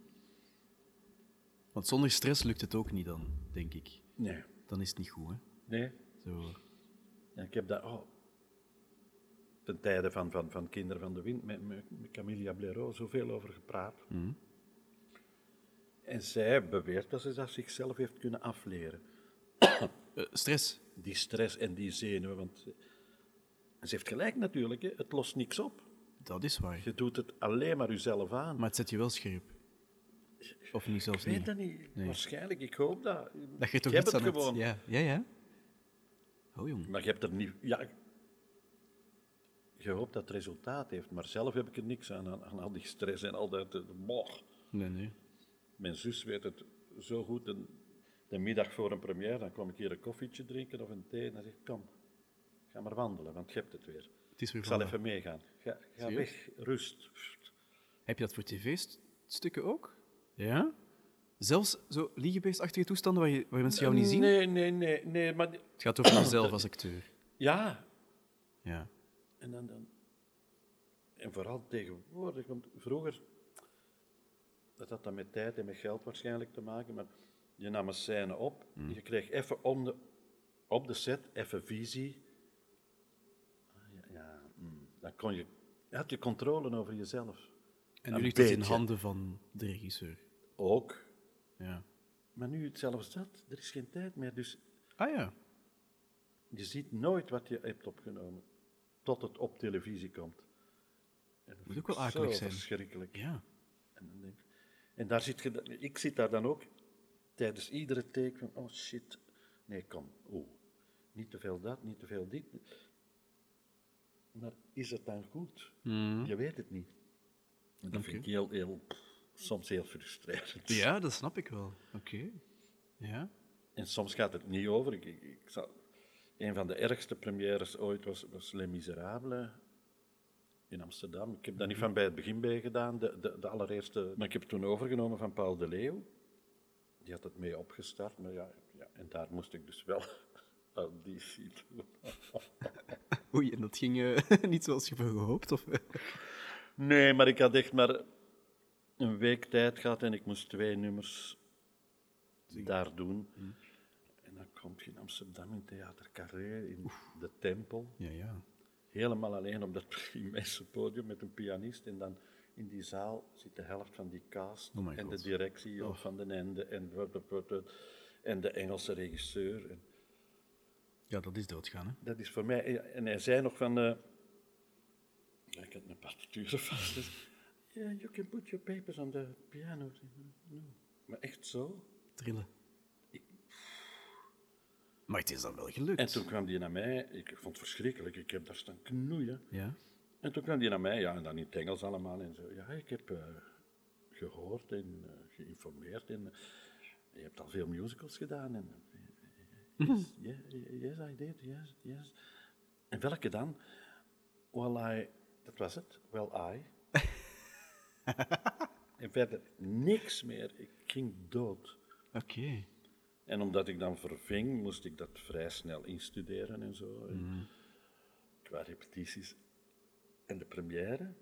Speaker 2: Want zonder stress lukt het ook niet dan, denk ik.
Speaker 3: Nee,
Speaker 2: Dan is het niet goed, hè?
Speaker 3: nee.
Speaker 2: Zo.
Speaker 3: Ja, ik heb dat... Oh, ten tijde van, van, van Kinderen van de Wind met, met, met Camilla Blaireau zoveel over gepraat.
Speaker 2: Mhm.
Speaker 3: En zij beweert dat ze dat zichzelf heeft kunnen afleren.
Speaker 2: Eh, stress.
Speaker 3: die stress en die zenuwen. Want eh, ze heeft gelijk natuurlijk, hè. het lost niks op.
Speaker 2: Dat is waar.
Speaker 3: Je doet het alleen maar jezelf aan.
Speaker 2: Maar het zet je wel scherp. Of niet zelfs
Speaker 3: ik weet
Speaker 2: niet.
Speaker 3: dat niet. Waarschijnlijk, ik hoop dat.
Speaker 2: Dat je
Speaker 3: Ik
Speaker 2: toch
Speaker 3: heb
Speaker 2: iets
Speaker 3: het
Speaker 2: aan hebt.
Speaker 3: gewoon.
Speaker 2: Ja, ja, ja. Oh jong.
Speaker 3: Maar je hebt er niet... Ja, je hoopt dat het resultaat heeft, maar zelf heb ik er niks aan, aan, aan al die stress en al dat. eh, boah.
Speaker 2: Nee, nee.
Speaker 3: Mijn zus weet het zo goed. En de middag voor een première, dan kwam ik hier een koffietje drinken of een thee. En dan zeg ik, kom, ga maar wandelen, want je hebt het weer.
Speaker 2: Het is weer
Speaker 3: Ik zal
Speaker 2: vandaag.
Speaker 3: even meegaan. Ga, ga weg, rust.
Speaker 2: Heb je dat voor tv-stukken ook? Ja? Zelfs zo liegebeestachtige toestanden waar, je, waar mensen jou niet zien?
Speaker 3: Nee, nee, nee, nee, maar... die-
Speaker 2: Het gaat over jezelf als acteur.
Speaker 3: Ja,
Speaker 2: Ja.
Speaker 3: en dan... dan en vooral tegenwoordig, want vroeger... Dat had dan met tijd en met geld waarschijnlijk te maken, maar je nam een scène op, je kreeg even om de, op de set, even visie. Ah, Ja, ja mm, dan kon je, had je controle over jezelf.
Speaker 2: En
Speaker 3: Een
Speaker 2: nu ligt het in
Speaker 3: beetje.
Speaker 2: handen van de regisseur.
Speaker 3: Ook.
Speaker 2: Ja.
Speaker 3: Maar nu zelfs dat, er is geen tijd meer, dus
Speaker 2: Ah ja.
Speaker 3: Je ziet nooit wat je hebt opgenomen tot het op televisie komt. En dat
Speaker 2: Moet
Speaker 3: vind
Speaker 2: ook wel
Speaker 3: ik
Speaker 2: akelig
Speaker 3: zo
Speaker 2: zijn.
Speaker 3: verschrikkelijk.
Speaker 2: Ja.
Speaker 3: En, dan denk ik- en daar zit je, dan- ik zit daar dan ook tijdens iedere take van, oh shit, nee, kom, oeh, niet te veel dat, niet te veel dit. Maar is het dan goed? Je weet het niet. En dat vind ik heel, heel, soms heel frustrerend.
Speaker 2: Ja, dat snap ik wel. Oké. Ja.
Speaker 3: En soms gaat het niet over. Ik, ik, ik zal- een van de ergste premières ooit was, was Les Miserables in Amsterdam. Ik heb dat niet van bij het begin bij gedaan, de, de, de allereerste. Mhm. Maar ik heb het toen overgenomen van Paul de Leeuw. Die had het mee opgestart, maar ja, ja en daar moest ik dus wel [LAUGHS] auditie doen.
Speaker 2: [LAUGHS]
Speaker 3: [LAUGHS]
Speaker 2: Oei, en dat ging eh, [LAUGHS] niet zoals je had gehoopt? Of, eh?
Speaker 3: Nee, maar ik had echt maar een week tijd gehad en ik moest twee nummers daar doen.
Speaker 2: Hm.
Speaker 3: En dan komt je in Amsterdam in Theater Carré, in de Tempel.
Speaker 2: Ja, ja.
Speaker 3: helemaal alleen op dat [LAUGHS] immense podium met een pianist. En dan in die zaal zit de helft van die cast
Speaker 2: Oh my
Speaker 3: en
Speaker 2: God.
Speaker 3: de directie op van den Ende en, wat, wat, wat, wat, en de Engelse regisseur. En
Speaker 2: Ja, dat is doodgaan, hè.
Speaker 3: dat is voor mij... En hij zei nog van... eh, ja, ik had een partituur vast. [LAUGHS] Dus, yeah, you can put your papers on the piano. No. Maar echt zo?
Speaker 2: Trillen. Maar het is dan wel gelukt.
Speaker 3: En toen kwam die naar mij. Ik vond het verschrikkelijk. Ik heb daar staan knoeien.
Speaker 2: Ja.
Speaker 3: En toen kwam die naar mij, ja, en dan in het Engels allemaal en zo. Ja, ik heb eh, gehoord en eh, geïnformeerd en eh, je hebt al veel musicals gedaan. En, eh, yes, ye- yes, I did, yes, yes. En welke dan? Well, I, dat was het, well, I. en verder niks meer, ik ging dood.
Speaker 2: Oké.
Speaker 3: En omdat ik dan verving, moest ik dat vrij snel instuderen en zo. En Qua repetities. En de première.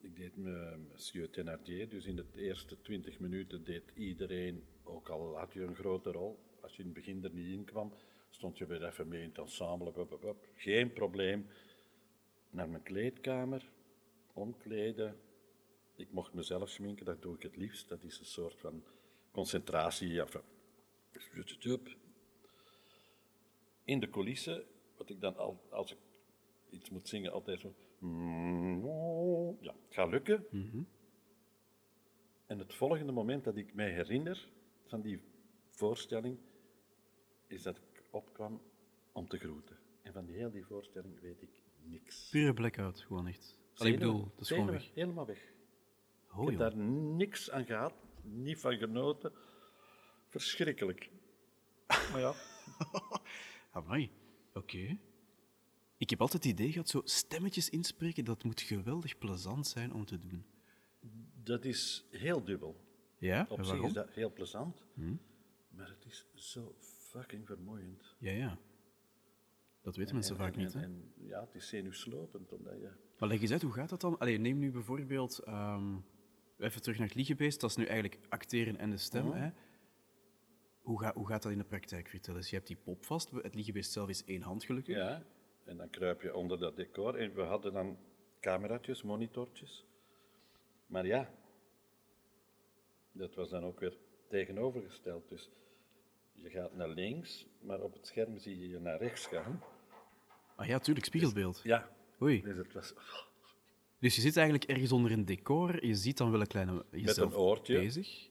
Speaker 3: Ik deed me Monsieur Thénardier, dus in de eerste twintig minuten deed iedereen, ook al had je een grote rol, als je in het begin er niet in kwam, stond je weer even mee in het ensemble. Pop, pop, pop. Geen probleem. Naar mijn kleedkamer, omkleden, ik mocht mezelf schminken, dat doe ik het liefst. Dat is een soort van concentratie. Enfin, zut, zut, zup. In de coulissen, wat ik dan al, als ik iets moet zingen, altijd zo. Ja, het gaat lukken. En het volgende moment dat ik mij herinner van die voorstelling, is dat ik opkwam om te groeten. En van die heel die voorstelling weet ik niks.
Speaker 2: Pure blackout, gewoon echt. Allee, ik bedoel, dat is gewoon
Speaker 3: Zenuwen,
Speaker 2: weg.
Speaker 3: Helemaal weg.
Speaker 2: Oh, joh.
Speaker 3: Ik heb daar niks aan gehad, niet van genoten. Verschrikkelijk.
Speaker 2: Amai. Oké. Ik heb altijd het idee gehad, zo stemmetjes inspreken, dat moet geweldig plezant zijn om te doen.
Speaker 3: [LAUGHS] Dat is heel dubbel.
Speaker 2: Ja?
Speaker 3: Op
Speaker 2: en
Speaker 3: zich
Speaker 2: waarom? Hm?
Speaker 3: is dat heel plezant, maar het is zo fucking vermoeiend.
Speaker 2: Ja, ja. Dat weten mensen vaak
Speaker 3: En-
Speaker 2: niet, hè.
Speaker 3: en- en ja, het is zenuwslopend, omdat je...
Speaker 2: Maar leg eens uit, hoe gaat dat dan? Allee, neem nu bijvoorbeeld... ehm, even terug naar het liegebeest. Dat is nu eigenlijk acteren en de stem,
Speaker 3: Oh.
Speaker 2: hè. Hoe, ga, hoe gaat dat in de praktijk? Vertel eens. Je hebt die pop vast. Het liegebeest zelf is één hand, gelukkig.
Speaker 3: Ja, en dan kruip je onder dat decor. En we hadden dan cameraatjes, monitortjes. Maar ja, dat was dan ook weer tegenovergesteld. Dus je gaat naar links, maar op het scherm zie je je naar rechts gaan.
Speaker 2: Ah ja, tuurlijk, spiegelbeeld.
Speaker 3: Dus- Ja,
Speaker 2: Oei.
Speaker 3: dus het was
Speaker 2: Dus je zit eigenlijk ergens onder een decor. Je ziet dan wel een kleine... jezelf
Speaker 3: een oortje.
Speaker 2: bezig.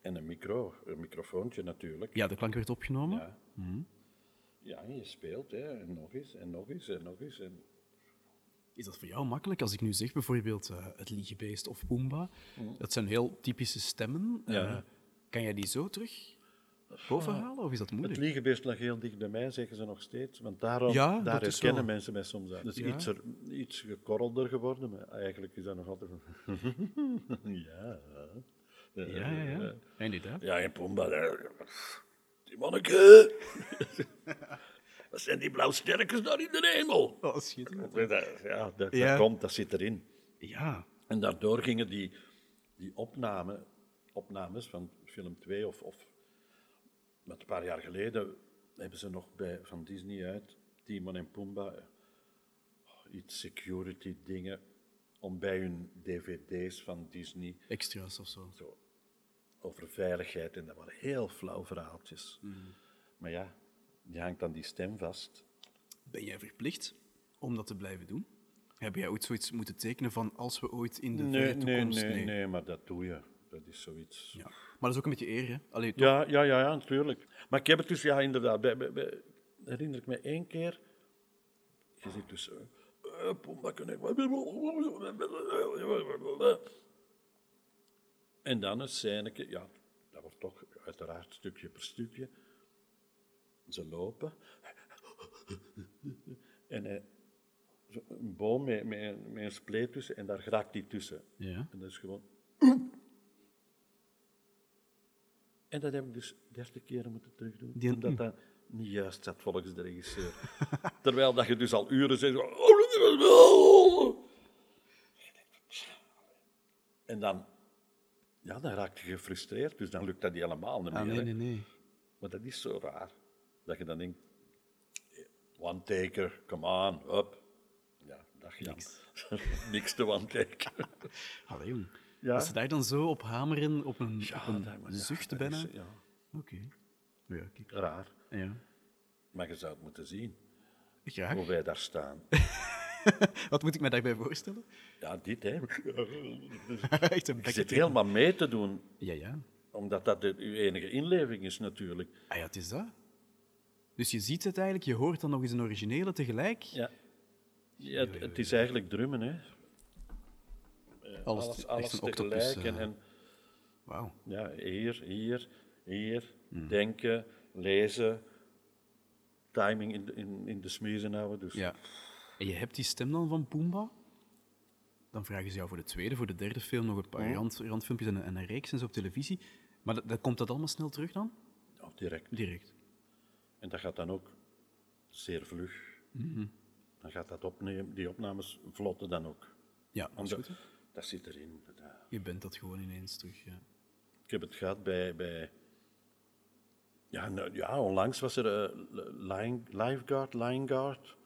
Speaker 3: En een micro, een microfoontje natuurlijk.
Speaker 2: Ja, de klank werd opgenomen.
Speaker 3: Ja, ja en je speelt, hè. en nog eens, en nog eens, en nog eens. En...
Speaker 2: Is dat voor jou makkelijk? Als ik nu zeg bijvoorbeeld eh, het liegebeest of Pumba, dat zijn heel typische stemmen. Eh,
Speaker 3: Mm. Ja. Ah.
Speaker 2: kan jij die zo terug bovenhalen of is dat
Speaker 3: Het
Speaker 2: moeilijk?
Speaker 3: liegebeest lag heel dicht bij mij, zeggen ze nog steeds. Want daarom,
Speaker 2: Ja,
Speaker 3: daar
Speaker 2: dat is
Speaker 3: herkennen
Speaker 2: wel-
Speaker 3: mensen mij soms uit. Dus
Speaker 2: Ja.
Speaker 3: iets, er, iets gekorrelder geworden, maar eigenlijk is dat nog altijd van... [LAUGHS] ja. Eh,
Speaker 2: ja, ja, ja. Inderdaad.
Speaker 9: Ja, en Pumba, daar- die
Speaker 3: [LAUGHS]
Speaker 9: manneke. Wat zijn die blauwe sterkens daar in de hemel?
Speaker 2: Oh, schitterend.
Speaker 3: Dat, ja, dat, dat
Speaker 2: Ja.
Speaker 3: komt, dat zit erin.
Speaker 2: Ja.
Speaker 3: En daardoor gingen die, die opname, opnames van film 2 of, of met een paar jaar geleden hebben ze nog bij, van Disney uit, Timon en Pumba, eh, iets security dingen om bij hun dvd's van Disney
Speaker 2: Extra's of zo.
Speaker 3: zo over veiligheid en dat waren heel flauw
Speaker 2: Mm-hmm.
Speaker 3: verhaaltjes. Maar ja, je hangt aan die stem vast.
Speaker 2: Ben jij verplicht om dat te blijven doen? Heb jij ooit zoiets moeten tekenen van als we ooit in de
Speaker 3: nee,
Speaker 2: verre
Speaker 3: nee,
Speaker 2: toekomst...
Speaker 3: nee, nee, maar dat doe je. Dat is zoiets.
Speaker 2: Ja. Maar dat is ook een beetje eer, hè? Allee, toch?
Speaker 3: Ja, ja, ja, ja, natuurlijk. Maar ik heb het dus, ja, inderdaad. Bij, bij, bij- herinner ik me één keer. Je zit dus. eh, eh, Pomba Connect. En dan een scèneke. Ja, dat wordt toch uiteraard stukje per stukje. Ze lopen. En hij- zo een boom met, met, een- met een spleet tussen en daar raakt hij tussen.
Speaker 2: Ja.
Speaker 3: En dat is gewoon. En dat heb ik dus dertig keer moeten terugdoen.
Speaker 2: Die-
Speaker 3: Omdat dat niet juist zat volgens
Speaker 2: [LAUGHS]
Speaker 3: de regisseur. Terwijl dat je dus al uren zegt. En dan, ja, dan raak je gefrustreerd, dus dan lukt dat niet helemaal niet meer.
Speaker 2: Ah, nee,
Speaker 3: hè.
Speaker 2: nee, nee.
Speaker 3: Maar dat is zo raar. Dat je dan denkt, one taker, come on, up. Ja, dag Jan. [LAUGHS] Niks te one taker.
Speaker 2: Allee, jong.
Speaker 3: Ja.
Speaker 2: Dat ze daar dan zo op hameren, op een, op een
Speaker 3: dat- maar ja,
Speaker 2: zucht
Speaker 3: dat
Speaker 2: bijna.
Speaker 3: is,
Speaker 2: Oké.
Speaker 3: ja, Oh
Speaker 2: Ja, kijk.
Speaker 3: raar.
Speaker 2: Ja.
Speaker 3: Maar je zou het moeten zien,
Speaker 2: Graag.
Speaker 3: hoe wij daar staan.
Speaker 2: Wat moet ik mij daarbij voorstellen? [LAUGHS]
Speaker 3: Ja, dit, hè.
Speaker 2: Echt een
Speaker 3: Je
Speaker 2: bekken
Speaker 3: zit
Speaker 2: tegen-
Speaker 3: helemaal mee te doen,
Speaker 2: Ja, ja.
Speaker 3: omdat dat de, uw enige inleving is natuurlijk.
Speaker 2: Ah ja, het is dat. Dus je ziet het eigenlijk, je hoort dan nog eens een originele tegelijk.
Speaker 3: Ja. Ja, het, het is eigenlijk drummen, hè.
Speaker 2: alles,
Speaker 3: Alles,
Speaker 2: echt
Speaker 3: alles
Speaker 2: een octopus.
Speaker 3: tegelijk. En,
Speaker 2: eh,
Speaker 3: en
Speaker 2: Wauw.
Speaker 3: Ja, hier, hier, hier.
Speaker 2: Mm.
Speaker 3: Denken, lezen. Timing in de, in, in de smeren houden. Dus.
Speaker 2: Ja. En je hebt die stem dan van Pumba. Dan vragen ze jou voor de tweede, voor de derde film nog een paar
Speaker 3: Oh.
Speaker 2: rand, randfilmpjes en, een- en een reeks en zo op televisie. Maar dat, dat- komt dat allemaal snel terug dan?
Speaker 3: Ja, oh, direct.
Speaker 2: Direct.
Speaker 3: En dat gaat dan ook zeer vlug.
Speaker 2: Mhm.
Speaker 3: Dan gaat dat opnemen, die opnames vlotten dan ook.
Speaker 2: Ja, dat is
Speaker 3: Omdat-
Speaker 2: goed. hè?
Speaker 3: dat zit erin. Dat-
Speaker 2: Je bent dat gewoon ineens terug. Ja.
Speaker 3: Ik heb het gehad bij. bij ja, nou, ja, onlangs was er eh, Lion- Lifeguard, Lionguard.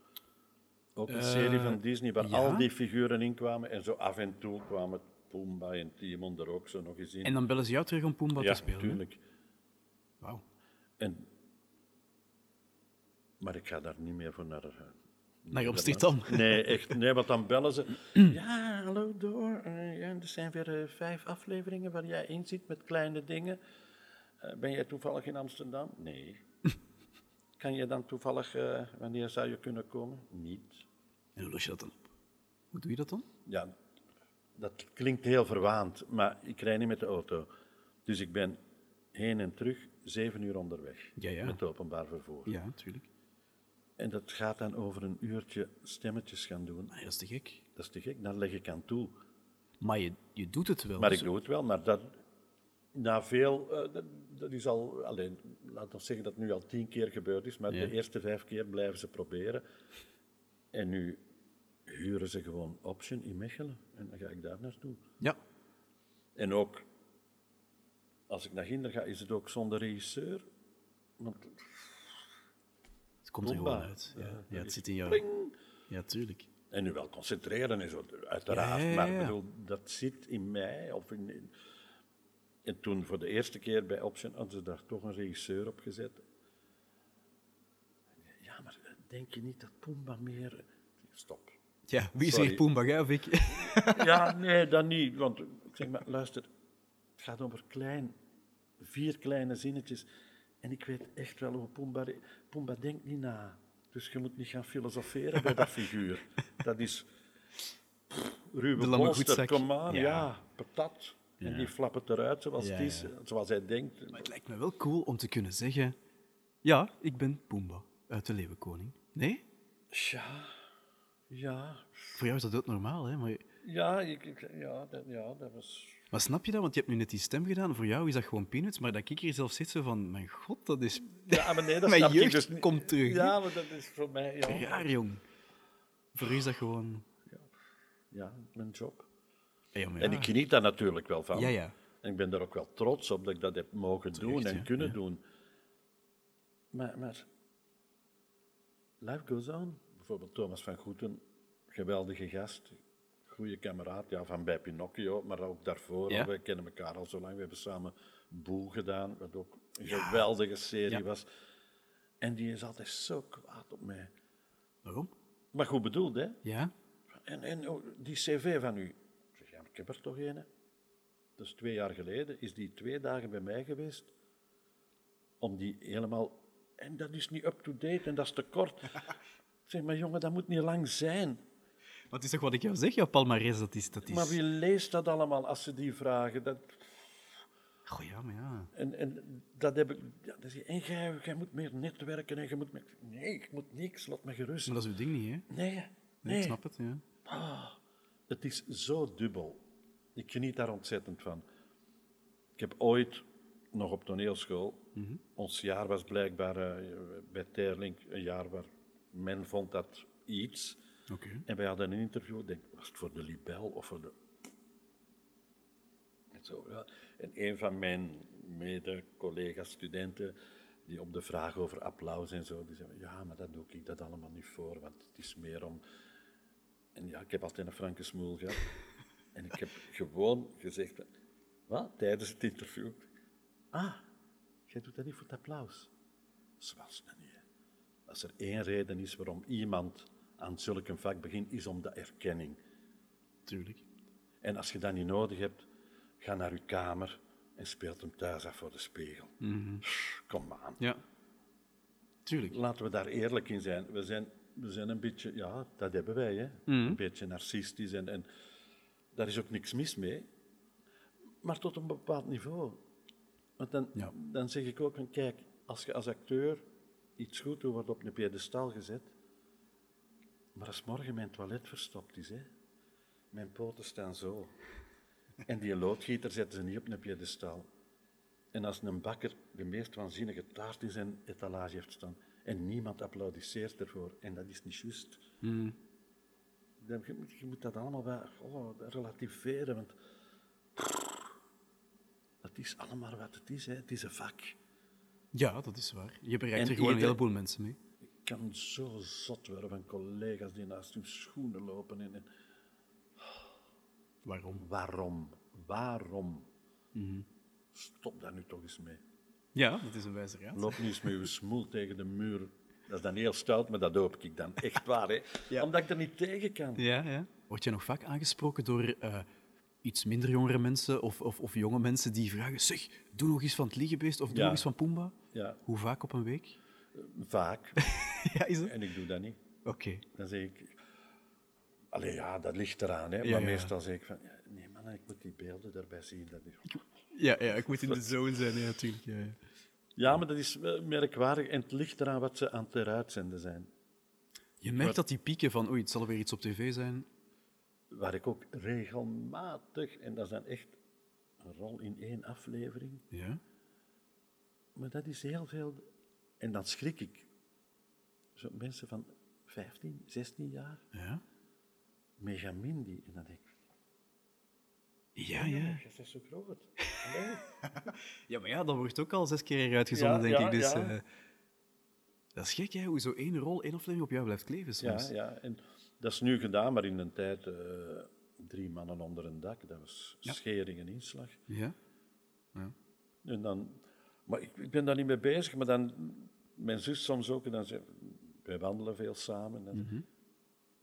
Speaker 3: Ook een serie van Disney waar
Speaker 2: Eh, ja?
Speaker 3: al die figuren in kwamen. En zo af en toe kwamen Pumba en Timon er ook zo nog eens in.
Speaker 2: En dan bellen ze jou terug om Pumba
Speaker 3: ja,
Speaker 2: te spelen. hè?
Speaker 3: natuurlijk.
Speaker 2: Wauw.
Speaker 3: En, maar ik ga daar niet meer voor naar. eh,
Speaker 2: Naar Amsterdam. [LAUGHS]
Speaker 3: Nee, echt. Nee, want dan bellen ze. [CLEARS THROAT] Ja, hallo Door. Eh, ja, er zijn weer eh, vijf afleveringen waar jij in zit met kleine dingen. Eh, ben jij toevallig in Amsterdam? Nee. [LAUGHS] kan je dan toevallig, eh, wanneer zou je kunnen komen? Niet.
Speaker 2: En hoe los je dat dan op? Hoe doe je dat dan?
Speaker 3: Ja, dat klinkt heel verwaand, maar ik rij niet met de auto. Dus ik ben heen en terug zeven uur onderweg
Speaker 2: Ja, ja.
Speaker 3: met openbaar vervoer.
Speaker 2: Ja, natuurlijk.
Speaker 3: En dat gaat dan over een uurtje stemmetjes gaan doen.
Speaker 2: Nee, dat is te gek.
Speaker 3: Dat is te gek, daar leg ik aan toe.
Speaker 2: Maar je, je doet het wel.
Speaker 3: Maar
Speaker 2: dus-
Speaker 3: ik doe het wel, maar dat, na veel, eh, dat, dat is al, alleen, laat ons zeggen dat het nu al tien keer gebeurd is, maar
Speaker 2: Ja.
Speaker 3: de eerste vijf keer blijven ze proberen. En nu huren ze gewoon Option in Mechelen en dan ga ik daar naartoe.
Speaker 2: Ja,
Speaker 3: En ook, als ik naar Ginder ga, is het ook zonder regisseur. Want
Speaker 2: het komt er
Speaker 3: Pumba.
Speaker 2: gewoon uit. Ja, ja, het zit in jou.
Speaker 3: pling,
Speaker 2: Ja, tuurlijk.
Speaker 3: En nu wel concentreren en zo, uiteraard.
Speaker 2: Ja, ja, ja,
Speaker 3: Maar ik
Speaker 2: ja.
Speaker 3: bedoel, dat zit in mij. Of in, in- En toen voor de eerste keer bij Option hadden ze daar toch een regisseur op gezet. Ja, maar denk je niet dat Pumba meer... Stop.
Speaker 2: Ja, wie is
Speaker 3: Sorry.
Speaker 2: hier Pumba, jij [LAUGHS] of ik?
Speaker 3: Ja, nee, dat niet. Want ik zeg maar, luister, het gaat over klein, vier kleine zinnetjes. En ik weet echt wel hoe Pumba... Pumba denkt niet na. Dus je moet niet gaan filosoferen bij dat figuur. Dat is... pff,
Speaker 2: De
Speaker 3: Ruwe
Speaker 2: lange
Speaker 3: bolster,
Speaker 2: goedzak.
Speaker 3: kom aan,
Speaker 2: Ja.
Speaker 3: ja. patat. En die flappen eruit zoals
Speaker 2: Ja,
Speaker 3: het is,
Speaker 2: ja.
Speaker 3: zoals hij denkt.
Speaker 2: Maar het lijkt me wel cool om te kunnen zeggen... Ja, ik ben Pumba, uit de Leeuwenkoning. Nee?
Speaker 3: Ja, ja,
Speaker 2: Voor jou is dat ook normaal, hè? Maar,
Speaker 3: ja, ik, ik- ja, dat, ja, dat was...
Speaker 2: maar snap je dat? Want je hebt nu net die stem gedaan. Voor jou is dat gewoon peanuts. Maar dat ik hier zelf zit zo van... Mijn god, dat is...
Speaker 3: Ja, maar nee,
Speaker 2: [LAUGHS]
Speaker 3: dat
Speaker 2: Mijn
Speaker 3: snap ik
Speaker 2: jeugd
Speaker 3: dus niet.
Speaker 2: komt terug, hè?
Speaker 3: Ja, maar dat is voor mij... Ja,
Speaker 2: Raar, jong. Voor u is dat gewoon...
Speaker 3: ja mijn job.
Speaker 2: Ja, ja, maar
Speaker 3: En
Speaker 2: ja.
Speaker 3: ik geniet daar natuurlijk wel van.
Speaker 2: Ja, ja.
Speaker 3: En ik ben er ook wel trots op dat ik dat heb mogen doen en
Speaker 2: ja,
Speaker 3: kunnen
Speaker 2: ja.
Speaker 3: doen. Maar, maar life goes on. Bijvoorbeeld Thomas van Goeten, geweldige gast, goede kameraad, ja, van bij Pinocchio, maar ook daarvoor.
Speaker 2: Ja.
Speaker 3: al. We kennen elkaar al zo lang. We hebben samen Boel gedaan, wat ook een geweldige serie
Speaker 2: Ja.
Speaker 3: was. En die is altijd zo kwaad op mij.
Speaker 2: Waarom?
Speaker 3: Maar goed bedoeld, hè?
Speaker 2: Ja?
Speaker 3: En, en oh, die cv van u? Ik zeg, ja, maar ik heb er toch een, hè? Dus twee jaar geleden is die twee dagen bij mij geweest om die helemaal... En dat is niet up-to-date en dat is te
Speaker 2: [LAUGHS]
Speaker 3: kort. Ik zeg, maar jongen, dat moet niet lang zijn.
Speaker 2: Maar het is toch wat ik jou zeg, ja, Palmares, dat is... Dat is...
Speaker 3: Maar wie leest dat allemaal als ze die vragen? Dat,
Speaker 2: Goh, ja, maar ja.
Speaker 3: en, en dat heb ik... Ja, dat is, en jij, jij moet meer netwerken en je moet... meer- Nee, ik moet niks, laat me gerust.
Speaker 2: Maar dat is uw ding niet, hè?
Speaker 3: Nee, nee.
Speaker 2: Nee, ik snap het, ja.
Speaker 3: Het is zo dubbel. Ik geniet daar ontzettend van. Ik heb ooit nog op toneelschool. Ons jaar was blijkbaar eh, bij Terling een jaar waar men vond dat iets.
Speaker 2: Oké.
Speaker 3: En wij hadden een interview. Ik Denk, was het voor de Libel of voor de. En, zo, ja. en een van mijn mede-collega-studenten. Die op de vraag over applaus en zo, die zei, ja, maar dat doe ik dat allemaal niet voor, want het is meer om en ja, ik heb altijd een franke smoel gehad. en ik heb gewoon gezegd... Wat? Tijdens het interview. Ah, jij doet dat niet voor het applaus. Zoals dat niet. hè. Als er één reden is waarom iemand aan zulk een vak begint, is om de erkenning.
Speaker 2: Tuurlijk.
Speaker 3: En als je dat niet nodig hebt, ga naar je kamer en speelt hem thuis af voor de spiegel. Pff, Kom aan.
Speaker 2: Ja. Tuurlijk.
Speaker 3: Laten we daar eerlijk in zijn. We zijn, we zijn een beetje, ja, dat hebben wij, hè? een beetje narcistisch en, en daar is ook niks mis mee. Maar tot een bepaald niveau. Want dan,
Speaker 2: Ja.
Speaker 3: dan zeg ik ook, van, kijk, als je als acteur iets goed doet, wordt op een piedestal gezet. Maar als morgen mijn toilet verstopt is, hè, mijn poten staan zo. En die loodgieter zetten ze niet op een piedestal. En als een bakker de meest waanzinnige taart in zijn etalage heeft staan en niemand applaudisseert ervoor, en dat is niet juist. Dan, je, moet- je moet dat allemaal wel oh, relativeren, want het is allemaal wat het is. Hè. Het is een vak.
Speaker 2: Ja, dat is waar. Je bereikt
Speaker 3: En
Speaker 2: er gewoon
Speaker 3: ieder-
Speaker 2: een heleboel mensen mee.
Speaker 3: Ik kan zo zot worden van collega's die naast hun schoenen lopen. En, en
Speaker 2: Waarom?
Speaker 3: waarom? Waarom?
Speaker 2: Mhm.
Speaker 3: Stop daar nu toch eens mee.
Speaker 2: Ja, dat is een wijze raad.
Speaker 3: Loop niet eens met je smoel tegen de muur. Dat is dan heel stout, maar dat hoop ik dan. Echt waar,
Speaker 2: [LAUGHS]
Speaker 3: hè? Omdat ik er niet tegen kan.
Speaker 2: Ja, ja. Word jij nog vaak aangesproken door eh, iets minder jongere mensen of, of, of jonge mensen die vragen: zeg, doe nog eens van het liegebeest of doe
Speaker 3: Ja.
Speaker 2: nog eens van Pumba?
Speaker 3: Ja.
Speaker 2: Hoe vaak op een
Speaker 3: [LAUGHS]
Speaker 2: week? [LAUGHS]
Speaker 3: Vaak.
Speaker 2: ja, is het?
Speaker 3: En ik doe dat niet.
Speaker 2: Oké.
Speaker 3: Dan zeg ik... Allee, ja, dat ligt eraan, hè. Maar
Speaker 2: Ja, ja.
Speaker 3: meestal zeg ik van... ja, Nee, man, ik moet die beelden erbij zien. Dat is...
Speaker 2: Ja, ja, ik moet in de zone zijn, ja, natuurlijk. Ja, ja.
Speaker 3: Ja, maar dat is wel merkwaardig. En het ligt eraan wat ze aan het heruitzenden zijn.
Speaker 2: Je merkt dat die pieken van: oei, het zal weer iets op tv zijn.
Speaker 3: Waar ik ook regelmatig... En dat is dan echt een rol in één aflevering.
Speaker 2: Ja.
Speaker 3: Maar dat is heel veel. En dan schrik ik. Zo mensen van 15, 16 jaar,
Speaker 2: Ja.
Speaker 3: megamindi. En dan denk ik,
Speaker 2: Ja, ja.
Speaker 3: je bent zo groot.
Speaker 2: Ja, maar ja, dat wordt ook al zes keer uitgezonden,
Speaker 3: Ja,
Speaker 2: denk
Speaker 3: ja,
Speaker 2: ik. Dus,
Speaker 3: ja.
Speaker 2: eh, dat is gek, hè, hoe zo één rol, één aflevering op jou blijft kleven
Speaker 3: Ja,
Speaker 2: soms.
Speaker 3: ja, en dat is nu gedaan, maar in een tijd eh, drie mannen onder een dak. Dat was schering en inslag.
Speaker 2: ja.
Speaker 3: En dan, maar ik, ik ben daar niet mee bezig, maar dan mijn zus soms ook. En dan zei, wij wandelen veel samen. En dan
Speaker 2: Mhm.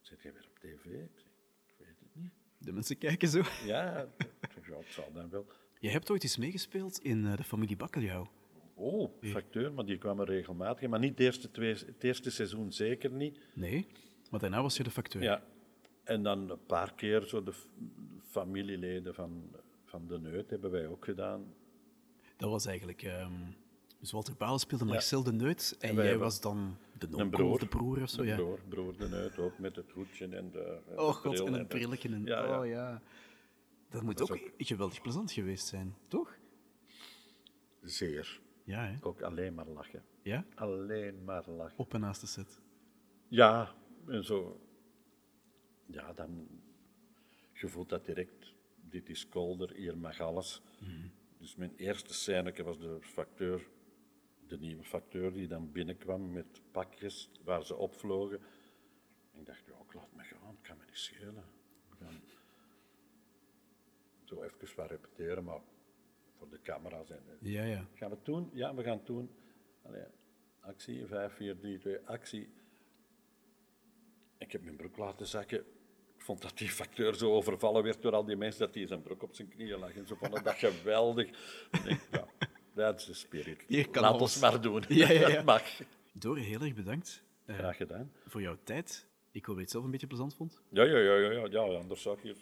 Speaker 3: zit jij weer op tv? Ik zeg, ik weet het niet.
Speaker 2: De mensen kijken zo.
Speaker 3: Ja, ik zeg, ja, het zal dan wel.
Speaker 2: Je hebt ooit eens meegespeeld in eh, de familie Bakkeljauw.
Speaker 3: Oh, facteur, maar die kwamen regelmatig. in. Maar niet het eerste, twee, het eerste seizoen zeker niet.
Speaker 2: Nee, maar daarna was je de facteur.
Speaker 3: Ja. En dan een paar keer zo de f- familieleden van, van de Neut hebben wij ook gedaan.
Speaker 2: Dat was eigenlijk... ehm, dus Walter Balen speelde Marcel de Neut en,
Speaker 3: wij
Speaker 2: jij
Speaker 3: hebben
Speaker 2: was dan de
Speaker 3: Een
Speaker 2: nonkel
Speaker 3: broer.
Speaker 2: of de broer of zo.
Speaker 3: Een
Speaker 2: Ja.
Speaker 3: broer, broer de Neut, ook met het hoedje en de en
Speaker 2: Oh
Speaker 3: de
Speaker 2: god,
Speaker 3: bril
Speaker 2: en een
Speaker 3: de-
Speaker 2: brilletje. En...
Speaker 3: Ja, ja.
Speaker 2: Oh ja. Dat moet
Speaker 3: Dat
Speaker 2: ook,
Speaker 3: is
Speaker 2: geweldig plezant geweest zijn, toch?
Speaker 3: Zeer.
Speaker 2: Ja, hè?
Speaker 3: Ook alleen maar lachen.
Speaker 2: Ja? Oh.
Speaker 3: Alleen maar lachen.
Speaker 2: Op en naast de set.
Speaker 3: Ja, en zo. Ja, dan. Je voelt dat direct. Dit is kolder, hier mag alles.
Speaker 2: Mhm.
Speaker 3: Dus mijn eerste scène was de facteur, de nieuwe facteur, die dan binnenkwam met pakjes waar ze opvlogen. En ik dacht, ja, ik laat me gaan, het kan me niet schelen. Ik ga Zo even wat repeteren, maar voor de camera's en
Speaker 2: Ja, ja.
Speaker 3: Gaan we het doen? Ja, we gaan het doen. Allee, actie, 5, 4, 3, 2, actie. Ik heb mijn broek laten zakken. Ik vond dat die facteur zo overvallen werd door al die mensen, dat hij zijn broek op zijn knieën lag. En ze vonden dat geweldig. Ik denk, ja, dat is de spirit.
Speaker 2: Hier kan
Speaker 3: Laat
Speaker 2: alles.
Speaker 3: ons maar doen.
Speaker 2: Ja, ja, ja.
Speaker 3: [LAUGHS] Dat mag.
Speaker 2: Door, heel erg bedankt eh,
Speaker 3: Graag gedaan.
Speaker 2: voor jouw tijd. Ik hoop dat je het zelf een beetje plezant vond.
Speaker 3: Ja, ja, ja, ja, ja, ja anders zou ik hier...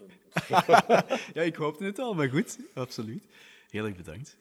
Speaker 2: Ja, ik hoopte het al, maar goed, absoluut. Heel erg bedankt.